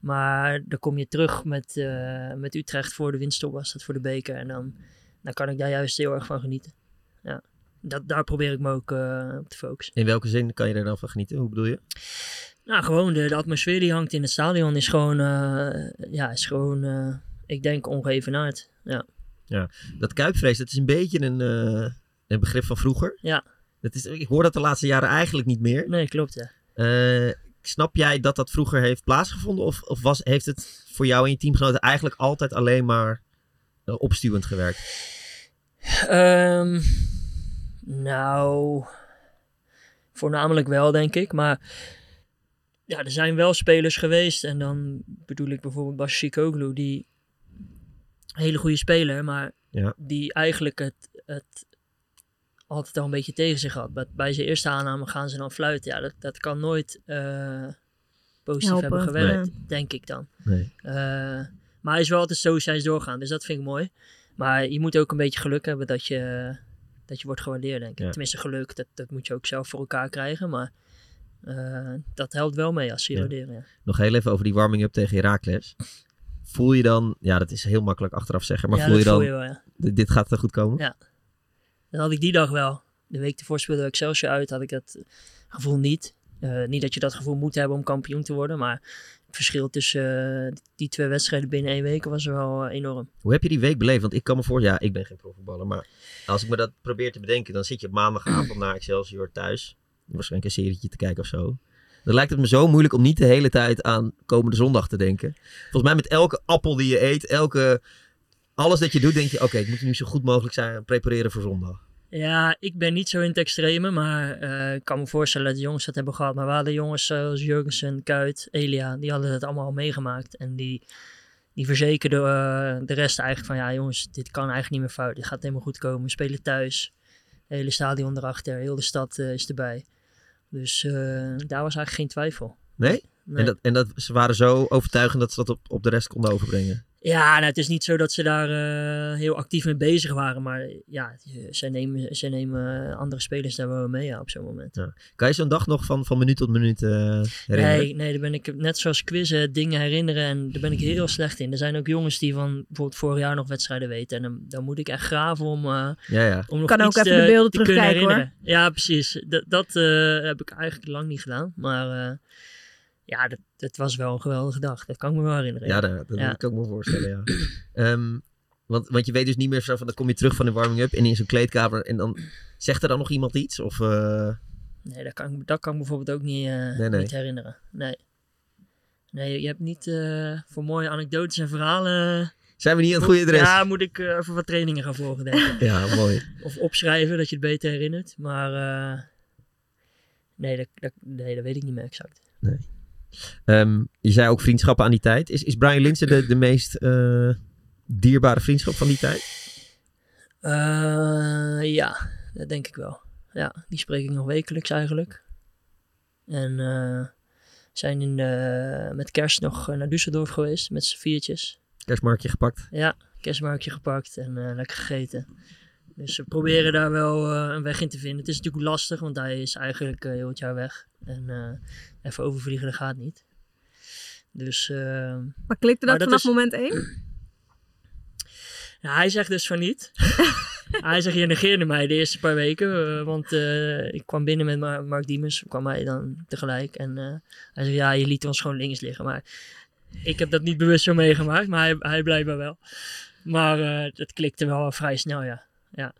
Speaker 4: Maar dan kom je terug met, eh, met Utrecht voor de winst op, was dat voor de beker. En dan, dan kan ik daar juist heel erg van genieten. Ja. Dat, daar probeer ik me ook eh, op te focussen.
Speaker 1: In welke zin kan je er dan van genieten? Hoe bedoel je?
Speaker 4: Nou, gewoon de, de atmosfeer die hangt in het stadion is gewoon, eh, ja, is gewoon eh, ik denk, ongeëvenaard. Ja.
Speaker 1: Dat kuipvrees, dat is een beetje een, eh, een begrip van vroeger.
Speaker 4: Ja.
Speaker 1: Dat is, ik hoor dat de laatste jaren eigenlijk niet meer.
Speaker 4: Nee, klopt, ja.
Speaker 1: Eh, snap jij dat dat vroeger heeft plaatsgevonden? Of, of was, heeft het voor jou en je teamgenoten eigenlijk altijd alleen maar eh, opstuwend gewerkt?
Speaker 4: Ehm, nou, voornamelijk wel, denk ik. Maar ja, er zijn wel spelers geweest. En dan bedoel ik bijvoorbeeld Bas Chicoglu, die een hele goede speler, maar
Speaker 1: Ja.
Speaker 4: die eigenlijk het, het altijd al een beetje tegen zich had. Bij- Bij zijn eerste aanname gaan ze dan fluiten. Ja, dat, dat kan nooit eh, positief
Speaker 2: Helpen,
Speaker 4: hebben gewerkt, denk ik dan.
Speaker 1: Nee.
Speaker 4: Eh, maar hij is wel altijd stoïcijns doorgaan, dus dat vind ik mooi. Maar je moet ook een beetje geluk hebben dat je, dat je wordt gewaardeerd, denk ik.
Speaker 1: Ja.
Speaker 4: Tenminste, geluk, dat, dat moet je ook zelf voor elkaar krijgen. Maar eh, dat helpt wel mee als ze je
Speaker 1: Ja.
Speaker 4: waarderen. Ja.
Speaker 1: Nog heel even over die warming-up tegen Herakles. Voel je dan, ja, dat is heel makkelijk achteraf zeggen, maar
Speaker 4: Ja,
Speaker 1: voel je
Speaker 4: dat
Speaker 1: dan,
Speaker 4: voel je wel, ja.
Speaker 1: dit- dit gaat er goed komen?
Speaker 4: Ja. Dat had ik die dag wel. de week ervoor speelde Excelsior uit, had ik dat gevoel niet. Eh, niet dat je dat gevoel moet hebben om kampioen te worden, maar het verschil tussen eh, die twee wedstrijden binnen één week was wel eh, enorm.
Speaker 1: Hoe heb je die week beleefd? Want ik kan me voor, ja, ik ben geen profvoetballer, maar als ik me dat probeer te bedenken, dan zit je op maandagavond na Excelsior thuis. Waarschijnlijk een serietje te kijken of zo. Dan lijkt het me zo moeilijk om niet de hele tijd aan komende zondag te denken. Volgens mij met elke appel die je eet, elke, alles dat je doet, denk je, oké, ik moet nu zo goed mogelijk zijn en prepareren voor zondag.
Speaker 4: Ja, ik ben niet zo in het extreme, maar eh, ik kan me voorstellen dat de jongens dat hebben gehad. Maar we hadden jongens zoals Jurgensen, Kuit, Elia, die hadden dat allemaal al meegemaakt. En die, die verzekerden eh, de rest eigenlijk van, ja jongens, dit kan eigenlijk niet meer fout. Dit gaat helemaal goed komen. We spelen thuis. Het hele stadion erachter, heel de stad eh, is erbij. Dus eh, daar was eigenlijk geen twijfel.
Speaker 1: Nee?
Speaker 4: Nee.
Speaker 1: En, dat, en dat, ze waren zo overtuigend dat ze dat op, op de rest konden overbrengen.
Speaker 4: Ja, nou, het is niet zo dat ze daar eh, heel actief mee bezig waren. Maar eh, ja, je- zij nemen, zij nemen eh, andere spelers daar wel mee ja, op zo'n moment.
Speaker 1: Kan je zo'n dag nog van, van minuut tot minuut eh, herinneren?
Speaker 4: Nee, nee, daar ben ik net zoals quizzen dingen herinneren en daar ben ik heel slecht in. Er zijn ook jongens die van bijvoorbeeld vorig jaar nog wedstrijden weten en dan, dan moet ik echt graven om, eh,
Speaker 1: Ja, ja.
Speaker 4: om nog
Speaker 2: Kan ook
Speaker 4: iets
Speaker 2: even
Speaker 4: te,
Speaker 2: de beelden
Speaker 4: te kunnen
Speaker 2: terugkijken, hoor.
Speaker 4: herinneren. Ja, precies. Dat, dat eh, heb ik eigenlijk lang niet gedaan, maar eh, ja, dat, dat was wel een geweldige dag. Dat kan ik me wel herinneren.
Speaker 1: Ja, dat, dat
Speaker 4: Ja.
Speaker 1: kan ik me voorstellen, ja. Ehm, want, want je weet dus niet meer zo van, dan kom je terug van de warming-up en in zo'n kleedkamer en dan zegt er dan nog iemand iets? Of, eh,
Speaker 4: Nee, dat kan, ik- dat kan ik bijvoorbeeld ook niet, eh,
Speaker 1: Nee, nee.
Speaker 4: niet herinneren. Nee. Nee, je hebt niet eh, voor mooie anekdotes en verhalen.
Speaker 1: zijn we niet aan het goede adres?
Speaker 4: Ja, moet ik eh, even wat trainingen gaan volgen, denk ik.
Speaker 1: Ja, mooi.
Speaker 4: Of opschrijven, dat je het beter herinnert. Maar eh, nee, dat, dat- nee, dat weet ik niet meer exact.
Speaker 1: Ehm, je zei ook vriendschappen aan die tijd. Is, is Brian Linsen de, de meest eh, dierbare vriendschap van die tijd?
Speaker 4: Eh, ja, dat denk ik wel. Ja, die spreek ik nog wekelijks eigenlijk. En eh, zijn in de- met kerst nog eh, naar Düsseldorf geweest met z'n viertjes.
Speaker 1: Kerstmarktje gepakt.
Speaker 4: Ja, kerstmarktje gepakt en eh, lekker gegeten. Dus we proberen daar wel eh, een weg in te vinden. Het is natuurlijk lastig, want hij is eigenlijk eh, heel het jaar weg. En eh, even overvliegen, dat gaat niet. Dus eh,
Speaker 2: Maar klikte dat,
Speaker 4: Maar dat
Speaker 2: vanaf
Speaker 4: is-
Speaker 2: moment één?
Speaker 4: nou, hij zegt dus van niet. hij zegt, je negeerde mij de eerste paar weken. eh, want eh, ik kwam binnen met Ma- Mark Diemers, kwam hij dan tegelijk. En eh, hij zegt, ja, je liet ons gewoon links liggen. Maar ik heb dat niet bewust zo meegemaakt, maar hij, hij blijkbaar wel. Maar eh, dat klikte wel vrij snel, ja. Ja,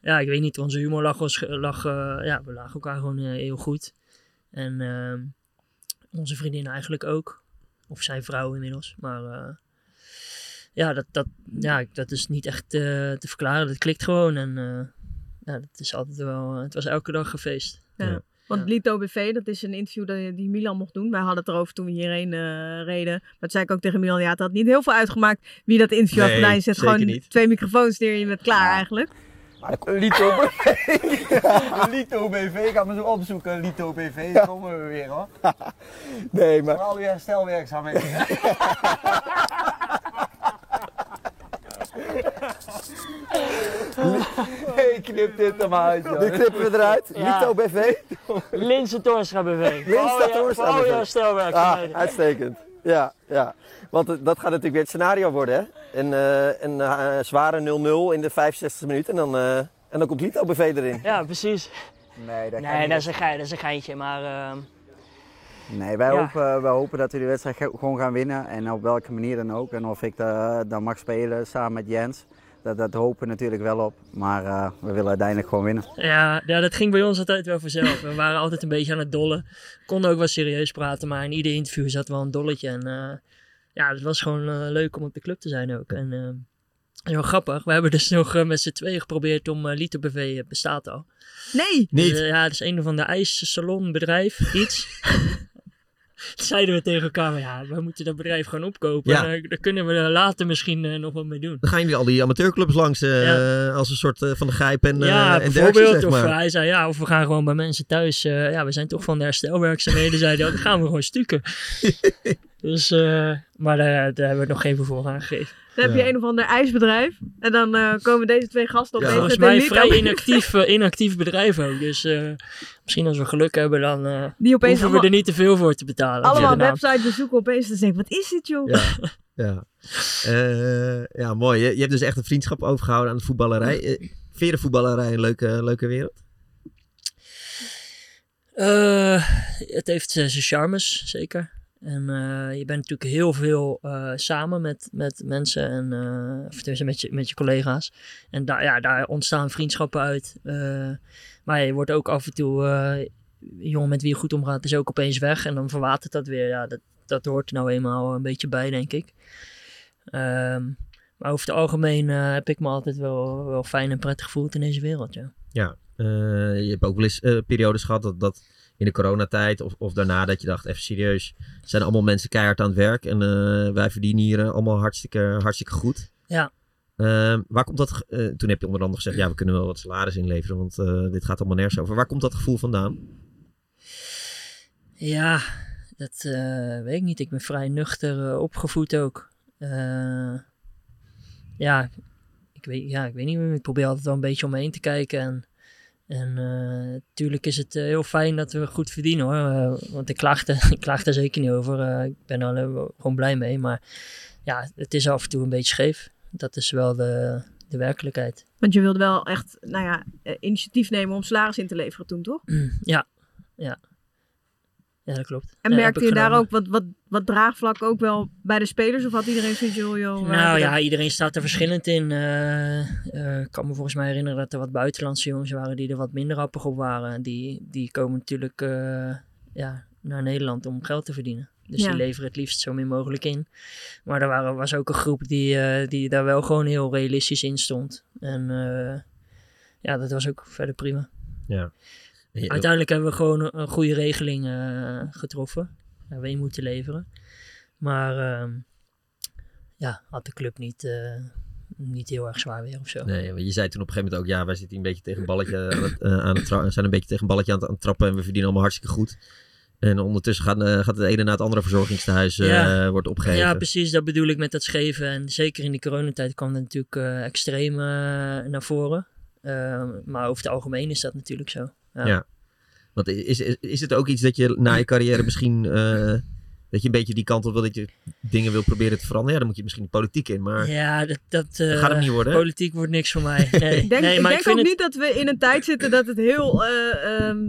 Speaker 4: ja ik weet niet, onze humor lag, ons, lag eh, ja, we lagen elkaar gewoon eh, heel goed. En ehm, onze vriendin eigenlijk ook. Of zijn vrouw inmiddels, maar... eh, ja, dat, dat, ja, dat is niet echt eh, te verklaren. Dat klikt gewoon. En eh, ja, dat is altijd wel. eh, Het was elke dag een feest.
Speaker 1: Ja.
Speaker 2: Ja. Want Lito BV, dat is een interview dat, die Milan mocht doen. Wij hadden het erover toen we hierheen eh, reden. Maar toen zei ik ook tegen Milan, ja, het had niet heel veel uitgemaakt wie dat interview had
Speaker 1: Nee,
Speaker 2: gedaan. Je zet
Speaker 1: zeker
Speaker 2: gewoon
Speaker 1: niet.
Speaker 2: twee microfoons neer en je bent klaar eigenlijk.
Speaker 8: Lito BV. Lito BV, ga me zo opzoeken. Lito BV, daar komen we weer hoor. Nee, maar. Vooral weer herstelwerkzaamheden. hey, knip dit er maar uit, joh.
Speaker 6: Nu knippen we eruit.
Speaker 8: Ja.
Speaker 6: Lito BV.
Speaker 4: Linse Torstra Oh, BV.
Speaker 6: Linse Voor al je- Torstra voor al BV. je
Speaker 4: stelwerk.
Speaker 6: Ah, uitstekend. Ja, ja. Want eh, dat gaat natuurlijk weer het scenario worden, hè? Een, eh, een eh, zware 0-0 in de 65e minuut en dan, eh, en dan komt Lito BV erin.
Speaker 4: Ja, precies.
Speaker 8: Nee, dat kan
Speaker 4: Nee,
Speaker 8: niet.
Speaker 4: dat is een, gei- dat is een geintje. Maar ehm,
Speaker 8: Nee, wij,
Speaker 4: Ja.
Speaker 8: hopen, eh, wij hopen dat we de wedstrijd ge- gewoon gaan winnen. En op welke manier dan ook. En of ik da- dan mag spelen samen met Jens. Dat, dat hopen we natuurlijk wel op. Maar eh, we willen uiteindelijk gewoon winnen.
Speaker 4: ja, ja, dat ging bij ons altijd wel vanzelf. We waren altijd een beetje aan het dollen. Konden ook wel serieus praten, maar in ieder interview zat wel een dolletje. En eh, ja, het was gewoon eh, leuk om op de club te zijn ook. En ehm, dat is wel grappig. We hebben dus nog eh, met z'n tweeën geprobeerd om eh Lito BV eh, bestaat al.
Speaker 2: Nee!
Speaker 1: Niet.
Speaker 4: Dus, eh, ja, het is een of ander ijssalonbedrijf, iets. Toen zeiden we tegen elkaar, maar ja, we moeten dat bedrijf gewoon opkopen.
Speaker 1: Ja.
Speaker 4: En, eh, daar kunnen we er later misschien eh, nog wat mee doen.
Speaker 1: Dan gaan jullie al die amateurclubs langs eh, als een soort eh, van de grijp en, eh
Speaker 4: ja,
Speaker 1: en dergelijke,
Speaker 4: bijvoorbeeld.
Speaker 1: zeg
Speaker 4: of
Speaker 1: maar.
Speaker 4: eh, hij zei, ja, of we gaan gewoon bij mensen thuis. eh, ja, we zijn toch van de herstelwerkzaamheden. zei hij, oh, dan gaan we gewoon stukken. dus, eh, maar daar, daar hebben we nog geen vervolg aan gegeven.
Speaker 2: Dan heb je een of ander ijsbedrijf. En dan eh, komen deze twee gasten op
Speaker 1: Ja.
Speaker 2: deze
Speaker 4: Volgens
Speaker 2: met een
Speaker 4: mij
Speaker 2: Lito
Speaker 4: vrij
Speaker 2: BV,
Speaker 4: inactief, eh, inactief bedrijf ook. Dus eh, misschien als we geluk hebben, dan eh,
Speaker 2: Die
Speaker 4: hoeven
Speaker 2: opeens
Speaker 4: we
Speaker 2: allemaal,
Speaker 4: er niet te veel voor te betalen.
Speaker 2: allemaal
Speaker 4: Ja.
Speaker 2: websites bezoeken opeens. Dan denk ik, wat is dit joh?
Speaker 1: Ja, ja. Eh, ja mooi. Je, je hebt dus echt een vriendschap overgehouden aan de voetballerij. Eh, vind je de voetballerij een leuke, leuke wereld?
Speaker 4: Eh, het heeft eh, zijn charmes, zeker. En eh, je bent natuurlijk heel veel eh, samen met, met mensen en eh, of tenminste met je, met je collega's. En daar, ja, daar ontstaan vriendschappen uit. Eh, maar je wordt ook af en toe, eh een jongen met wie je goed omgaat, is ook opeens weg. En dan verwatert dat weer. Ja, dat, dat hoort er nou eenmaal een beetje bij, denk ik. Ehm, maar over het algemeen eh, heb ik me altijd wel, wel fijn en prettig gevoeld in deze wereld, ja.
Speaker 1: Eh, je hebt ook wel eens eh, periodes gehad dat, dat in de coronatijd of, of daarna dat je dacht, even serieus, zijn allemaal mensen keihard aan het werk en eh, wij verdienen hier eh, allemaal hartstikke, hartstikke goed.
Speaker 4: Ja.
Speaker 1: Eh, waar komt dat? ge- eh, toen heb je onder andere gezegd, ja, we kunnen wel wat salaris inleveren, want eh, dit gaat allemaal nergens over. Waar komt dat gevoel vandaan?
Speaker 4: Ja, dat eh, weet ik niet. Ik ben vrij nuchter eh, opgevoed ook. Eh, ja, ik weet, ja, ik weet niet meer. Ik probeer altijd wel een beetje om me heen te kijken. En, en eh, tuurlijk is het eh, heel fijn dat we goed verdienen hoor. Eh, want ik klaag, er, ik klaag er zeker niet over. Eh, ik ben er wel gewoon blij mee. Maar ja, het is af en toe een beetje scheef. Dat is wel de, de werkelijkheid.
Speaker 2: Want je wilde wel echt, nou ja, eh, initiatief nemen om salaris in te leveren toen, toch?
Speaker 4: ja, ja. Ja, dat klopt.
Speaker 2: En
Speaker 4: Ja, Eh, heb
Speaker 2: merkte
Speaker 4: ik
Speaker 2: je daar
Speaker 4: gedaan.
Speaker 2: ook wat, wat, wat draagvlak ook wel bij de spelers? Of had iedereen zoiets, joh, joh, eh,
Speaker 4: Nou
Speaker 2: dat-
Speaker 4: ja, iedereen staat er verschillend in. Eh, eh, ik kan me volgens mij herinneren dat er wat buitenlandse jongens waren die er wat minder appig op waren. Die, die komen natuurlijk eh, ja, naar Nederland om geld te verdienen. Dus
Speaker 2: Ja.
Speaker 4: die leveren het liefst zo min mogelijk in. Maar er waren, was ook een groep die, eh, die daar wel gewoon heel realistisch in stond. En eh, ja, dat was ook verder prima. Uiteindelijk hebben we gewoon een- een goede regeling eh, getroffen. Waar we in moeten leveren. Maar ehm, ja, had de club niet, eh, niet heel erg zwaar weer of zo.
Speaker 1: Nee, want je zei toen op een gegeven moment ook, ja, wij zitten hier een beetje tegen een balletje aan het, eh, aan het tra- zijn een beetje tegen een balletje aan het, aan het trappen en we verdienen allemaal hartstikke goed. En ondertussen gaat, eh, gaat het ene na het andere verzorgingstehuis eh,
Speaker 4: Ja.
Speaker 1: wordt opgegeven.
Speaker 4: Ja, precies. Dat bedoel ik met dat scheven. En zeker in die coronatijd kwam dat natuurlijk eh, extreem eh, naar voren. Eh, maar over het algemeen is dat natuurlijk zo.
Speaker 1: Want is, is, is het ook iets dat je na je carrière misschien. eh, dat je een beetje die kant op wil dat je dingen wil proberen te veranderen? Ja, dan moet je misschien de politiek in. Maar
Speaker 4: Ja, dat, dat,
Speaker 1: dat gaat
Speaker 4: eh,
Speaker 1: hem niet worden. hè?
Speaker 4: politiek wordt niks voor mij. Nee,
Speaker 2: Ik denk,
Speaker 4: nee
Speaker 2: ik
Speaker 4: maar
Speaker 2: denk
Speaker 4: ik vind
Speaker 2: ook
Speaker 4: het...
Speaker 2: niet dat we in een tijd zitten dat het heel eh, ehm,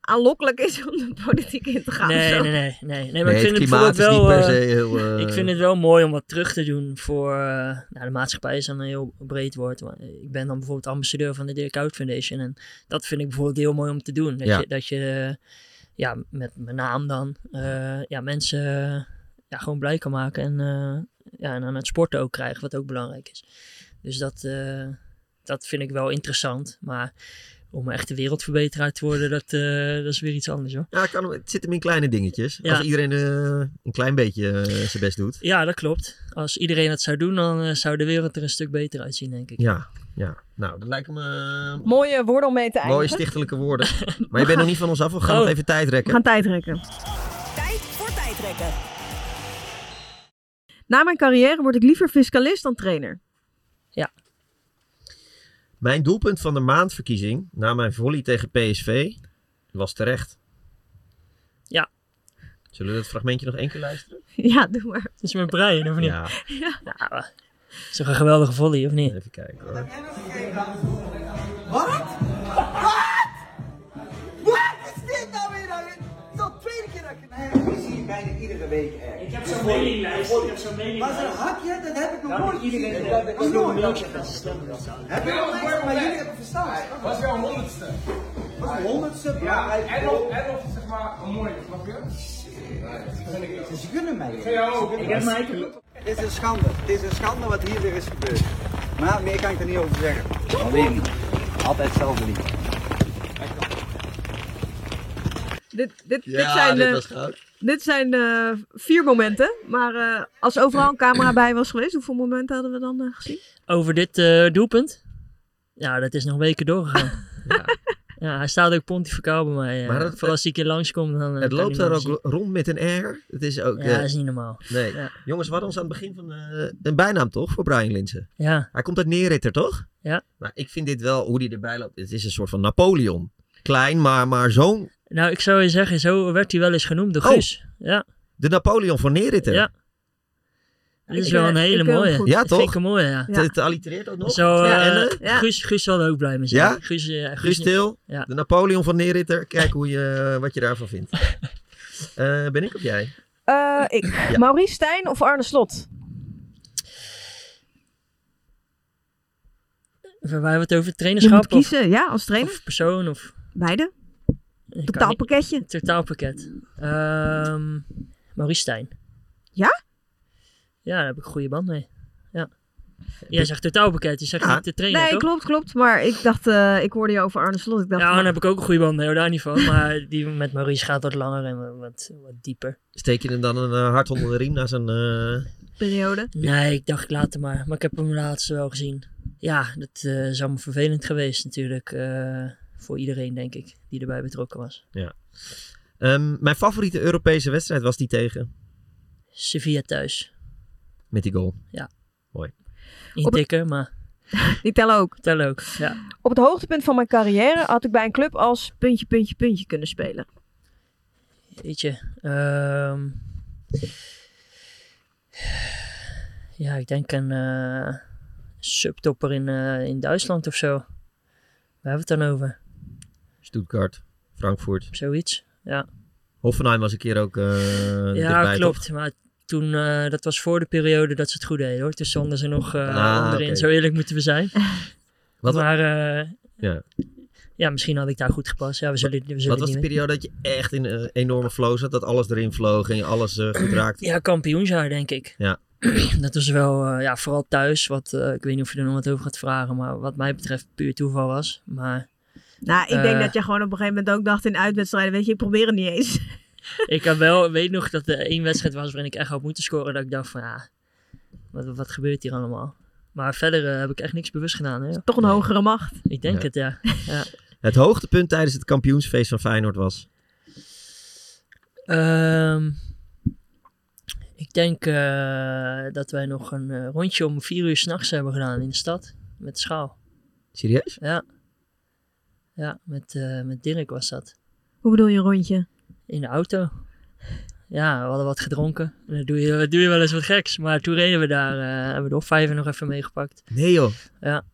Speaker 2: aanlokkelijk is om de politiek in te gaan. of
Speaker 4: Nee,
Speaker 2: zo.
Speaker 4: nee, nee, nee. Nee, maar
Speaker 1: Nee,
Speaker 4: ik vind
Speaker 1: het
Speaker 4: het
Speaker 1: klimaat
Speaker 4: bijvoorbeeld
Speaker 1: is niet per
Speaker 4: wel... eh,
Speaker 1: se heel. eh,
Speaker 4: Ik vind het wel mooi om wat terug te doen voor... eh, nou, de maatschappij is dan een heel breed woord. Maar ik ben dan bijvoorbeeld ambassadeur van de Dirk Hout Foundation. En dat vind ik bijvoorbeeld heel mooi om te doen. Dat
Speaker 1: Ja.
Speaker 4: je, dat je eh, ja, met mijn naam dan eh, ja, mensen eh, ja, gewoon blij kan maken. En, eh, ja, en aan het sporten ook krijgen, wat ook belangrijk is. Dus dat, eh, dat vind ik wel interessant. Maar om een echte wereldverbeteraar te worden, dat, eh, dat is weer iets anders hoor.
Speaker 1: Ja, kan, het zit hem in kleine dingetjes.
Speaker 4: Ja.
Speaker 1: Als iedereen eh, een klein beetje eh, zijn best doet.
Speaker 4: Ja, dat klopt. Als iedereen dat zou doen, dan eh, zou de wereld er een stuk beter uitzien, denk ik.
Speaker 1: Ja, ja. Nou, dat lijken me. eh,
Speaker 5: Mooie woorden om mee te
Speaker 1: Mooie
Speaker 5: eindigen.
Speaker 1: stichtelijke woorden. Maar je bent nog niet van ons af. We gaan
Speaker 4: Oh.
Speaker 1: nog even tijd
Speaker 2: We
Speaker 1: rekken.
Speaker 2: gaan tijd rekken.
Speaker 3: Tijd voor tijdrekken.
Speaker 2: Na mijn carrière word ik liever fiscalist dan trainer.
Speaker 1: Mijn doelpunt van de maandverkiezing na mijn volley tegen PSV was terecht.
Speaker 4: Ja.
Speaker 1: Zullen we dat fragmentje nog één keer
Speaker 4: Oh,
Speaker 1: luisteren?
Speaker 2: Ja, doe maar.
Speaker 4: Het is met Brian, of niet?
Speaker 1: Ja,
Speaker 4: Nou, eh, is toch een geweldige volley, of niet?
Speaker 1: even kijken hoor.
Speaker 9: Wat? Wat? Wat is dit nou weer? nou? Dit is al de tweede keer dat ik het nou heb. Ik zie je bijna iedere week ergens. Ik heb zo'n mailinglijst. Ik heb zo'n mailinglijst. Maar zo'n hakje, dat heb ik nog nooit gezien. Dat heb ik nog nooit Heb ik nog nooit, maar jullie hebben verstand. was jouw honderdste. Was de honderdste? Ja, en nog, en nog zeg maar een mooie, snap je? Ze kunnen mij. Ik heb mij Het is een schande. Het is een schande wat hier weer is gebeurd. Maar meer kan ik er niet over zeggen. Alleen niet. Altijd hetzelfde lied.
Speaker 2: Dit, dit, dit zijn, eh, dit zijn eh, vier momenten. Maar eh, als overal een camera bij was geweest, hoeveel momenten hadden we dan eh, gezien?
Speaker 4: Over dit eh, doelpunt? Ja, dat is nog weken doorgegaan. ja. ja, hij staat ook pontificaal bij mij. eh.
Speaker 1: Maar dat-
Speaker 4: Vooral als ik hier langskom, dan... eh,
Speaker 1: Het
Speaker 4: kan
Speaker 1: loopt daar
Speaker 4: niemand
Speaker 1: ook
Speaker 4: zien.
Speaker 1: rond met een R. Het is ook.
Speaker 4: Ja,
Speaker 1: eh,
Speaker 4: dat is niet normaal.
Speaker 1: nee.
Speaker 4: ja.
Speaker 1: Jongens, we hadden ons aan het begin van eh, een bijnaam toch voor Brian Linsen.
Speaker 4: Ja,
Speaker 1: Hij komt uit Neeritter, toch?
Speaker 4: Ja.
Speaker 1: Maar ik vind dit wel hoe die erbij loopt. Het is een soort van Napoleon. Klein, maar, maar zo'n.
Speaker 4: nou, ik zou je zeggen, zo werd hij wel eens genoemd door
Speaker 1: Oh.
Speaker 4: Guus. Ja,
Speaker 1: De Napoleon van Neeritter.
Speaker 4: ja. Dat is
Speaker 2: Ik,
Speaker 4: wel
Speaker 2: eh,
Speaker 4: een hele
Speaker 2: ik wil hem
Speaker 4: mooie.
Speaker 2: goed.
Speaker 4: Dat
Speaker 1: Ja, toch?
Speaker 4: Vind ik een mooie, ja.
Speaker 2: Ja.
Speaker 1: Het allitereert ook nog.
Speaker 4: Zo,
Speaker 1: Ja,
Speaker 4: eh,
Speaker 1: Ellen?
Speaker 2: Ja.
Speaker 4: Guus, Guus zal er ook blij mee zijn.
Speaker 1: Ja?
Speaker 4: Guus, eh, Guus,
Speaker 1: Guus Til,
Speaker 4: Ja.
Speaker 1: de Napoleon van Neeritter. Kijk hoe je, wat je daarvan vindt. Eh, ben ik of jij?
Speaker 5: Eh, ik. Maurice Stijn of Arne Slot?
Speaker 4: Waar hebben we het over
Speaker 2: Je moet
Speaker 4: trainerschap of,
Speaker 2: kiezen, ja, als trainer.
Speaker 4: of persoon of...
Speaker 2: Beide.
Speaker 4: Ik kan niet-
Speaker 2: Totaalpakketje.
Speaker 4: Totaalpakket. Ehm Maurice Stijn.
Speaker 2: Ja?
Speaker 4: Ja, daar heb ik een goede band mee. Ja. Jij zegt totaalpakket, je zegt
Speaker 1: Ja.
Speaker 4: niet de trainer,
Speaker 2: Nee,
Speaker 4: toch?
Speaker 2: klopt, klopt. Maar ik dacht, eh, ik hoorde je over Arne Slot. Ik dacht,
Speaker 4: Ja,
Speaker 2: nou,
Speaker 4: daar heb ik ook een goede band mee, hoor, daar niet van. Maar die met Maurice gaat wat langer en wat, wat dieper.
Speaker 1: Steek je hem dan een eh, hart onder de riem na zijn... eh,
Speaker 2: periode.
Speaker 4: Nee, ik dacht later maar. Maar ik heb hem laatst wel gezien. Ja, dat eh, is allemaal vervelend geweest natuurlijk. eh, voor iedereen, denk ik, die erbij betrokken was.
Speaker 1: Ehm, mijn favoriete Europese wedstrijd was die tegen.
Speaker 4: Sevilla thuis.
Speaker 1: Met die goal.
Speaker 4: Intikken, maar
Speaker 2: Die tellen ook.
Speaker 4: tel ook. Ja.
Speaker 5: Op het hoogtepunt van mijn carrière had ik bij een club als...
Speaker 2: Puntje, puntje, puntje kunnen spelen.
Speaker 4: Weet je. ehm, ja, ik denk een eh, subtopper in, eh, in Duitsland of zo. Waar hebben we het dan over?
Speaker 1: Stuttgart, Frankfurt.
Speaker 4: Zoiets. Ja,
Speaker 1: Hoffenheim was een keer ook eh
Speaker 4: ja
Speaker 1: dichtbij,
Speaker 4: klopt.
Speaker 1: toch?
Speaker 4: Maar toen, eh, dat was voor de periode dat ze het goed deden hoor. Toen stonden ze nog eh
Speaker 1: Ah,
Speaker 4: onderin.
Speaker 1: oké.
Speaker 4: Zo eerlijk moeten we zijn.
Speaker 1: Wat-
Speaker 4: maar eh,
Speaker 1: Ja.
Speaker 4: ja, misschien had ik daar goed gepast. Ja, we zullen, we zullen
Speaker 1: Wat was
Speaker 4: niet
Speaker 1: de
Speaker 4: weten.
Speaker 1: periode dat je echt in een enorme flow zat? Dat alles erin vloog en je alles eh, goed raakte?
Speaker 4: Ja, kampioensjaar denk ik.
Speaker 1: Ja.
Speaker 4: Dat was wel, eh, ja, vooral thuis, wat, eh, ik weet niet of je er nog wat over gaat vragen, maar wat mij betreft puur toeval was. Maar
Speaker 2: Nou, ik denk
Speaker 4: Eh.
Speaker 2: dat je gewoon op een gegeven moment ook dacht in uitwedstrijden, weet je, ik probeer het niet eens.
Speaker 4: ik had wel, weet nog dat er één wedstrijd was waarin ik echt had moeten scoren, dat ik dacht van, ja, wat, wat gebeurt hier allemaal? Maar verder eh, heb ik echt niks bewust gedaan. Hè?
Speaker 2: Toch een hogere macht.
Speaker 4: Ik denk
Speaker 1: Ja.
Speaker 4: het, ja.
Speaker 1: Het hoogtepunt tijdens het kampioensfeest van Feyenoord was.
Speaker 4: Ehm, ik denk eh, dat wij nog een eh, rondje om vier uur s'nachts hebben gedaan in de stad. Met de schaal.
Speaker 1: Serieus?
Speaker 4: Ja. Ja, met, eh, met Dirk was dat.
Speaker 2: Hoe bedoel je een rondje?
Speaker 4: In de auto. Ja, we hadden wat gedronken. En dan doe je, doe je wel eens wat geks. Maar toen reden we daar. eh, hebben we de Hofvijver nog even meegepakt.
Speaker 1: Nee joh.
Speaker 4: Ja.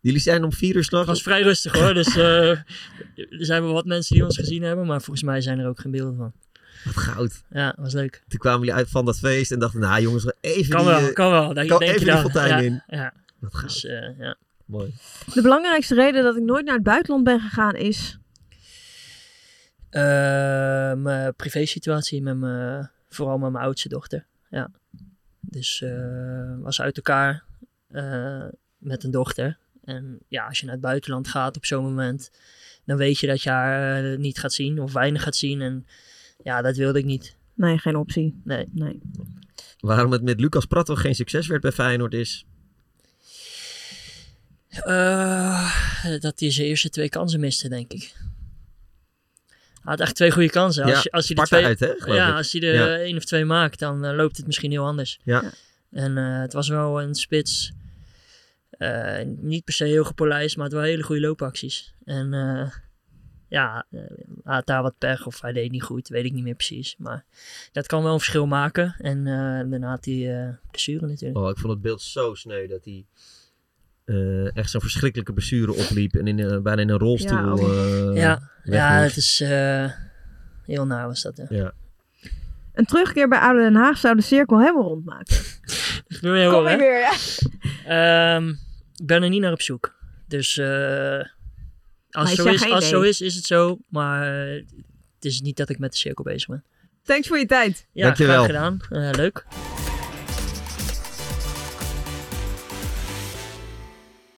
Speaker 1: Jullie zijn om vier uur
Speaker 4: Het was
Speaker 1: s'nachts.
Speaker 4: vrij rustig hoor. Dus eh, er zijn wel wat mensen die ons gezien hebben. Maar volgens mij zijn er ook geen beelden van.
Speaker 1: Wat goud.
Speaker 4: Ja, was leuk.
Speaker 1: Toen kwamen jullie uit van dat feest en dachten, nou jongens, even
Speaker 4: Kan
Speaker 1: die...
Speaker 4: wel,
Speaker 1: eh,
Speaker 4: kan wel. Denk,
Speaker 1: kan
Speaker 4: denk
Speaker 1: even
Speaker 4: je
Speaker 1: die
Speaker 4: dan.
Speaker 1: fontein
Speaker 4: ja,
Speaker 1: in.
Speaker 4: Ja,
Speaker 1: Wat goud.
Speaker 4: dus eh, ja.
Speaker 1: Mooi.
Speaker 2: De belangrijkste reden dat ik nooit naar het buitenland ben gegaan is...
Speaker 4: Eh, mijn privésituatie met mijn, vooral met mijn oudste dochter. Ja. Dus eh, was uit elkaar eh, met een dochter. En ja, als je naar het buitenland gaat op zo'n moment, dan weet je dat je haar eh, niet gaat zien of weinig gaat zien. En ja, dat wilde ik niet.
Speaker 2: Nee, geen optie.
Speaker 4: Nee.
Speaker 2: nee.
Speaker 1: Waarom het met Lucas Pratto geen succes werd bij Feyenoord is...
Speaker 4: Eh, dat hij zijn eerste twee kansen miste, denk ik. Hij had echt twee goede kansen. Als,
Speaker 1: Ja,
Speaker 4: je, als hij de
Speaker 1: Sparta
Speaker 4: twee,
Speaker 1: uit, hè, geloof
Speaker 4: ja,
Speaker 1: ik.
Speaker 4: als hij er
Speaker 1: Ja.
Speaker 4: eh, één of twee maakt, dan eh, loopt het misschien heel anders.
Speaker 1: Ja.
Speaker 4: En eh, het was wel een spits. eh, niet per se heel gepolijst, maar het waren hele goede loopacties. En eh, ja, eh, hij had daar wat pech of hij deed niet goed, weet ik niet meer precies. Maar dat kan wel een verschil maken. En eh, daarna had hij eh blessure natuurlijk.
Speaker 1: Oh, ik vond het beeld zo sneu dat hij eh, echt zo'n verschrikkelijke blessure opliep en in, een- bijna in een rolstoel.
Speaker 2: Ja, oh.
Speaker 1: eh,
Speaker 4: ja,
Speaker 1: weg
Speaker 4: ja,
Speaker 1: moest.
Speaker 4: het is eh, heel naar was dat. Hè.
Speaker 2: Een terugkeer bij Oude Den Haag zou de cirkel helemaal rondmaken.
Speaker 4: Doe je
Speaker 5: Kom
Speaker 4: wel,
Speaker 5: weer
Speaker 4: hè?
Speaker 5: weer, ja.
Speaker 4: Ehm, ik ben er niet naar op zoek. Dus eh, als, het
Speaker 2: je
Speaker 4: zo
Speaker 2: zegt
Speaker 4: is,
Speaker 2: geen
Speaker 4: als het zo
Speaker 2: nee.
Speaker 4: is, is het zo. Maar eh, het is niet dat ik met de cirkel bezig ben.
Speaker 2: Thanks voor je tijd.
Speaker 4: Ja,
Speaker 1: Dankjewel.
Speaker 4: graag gedaan. Eh, leuk.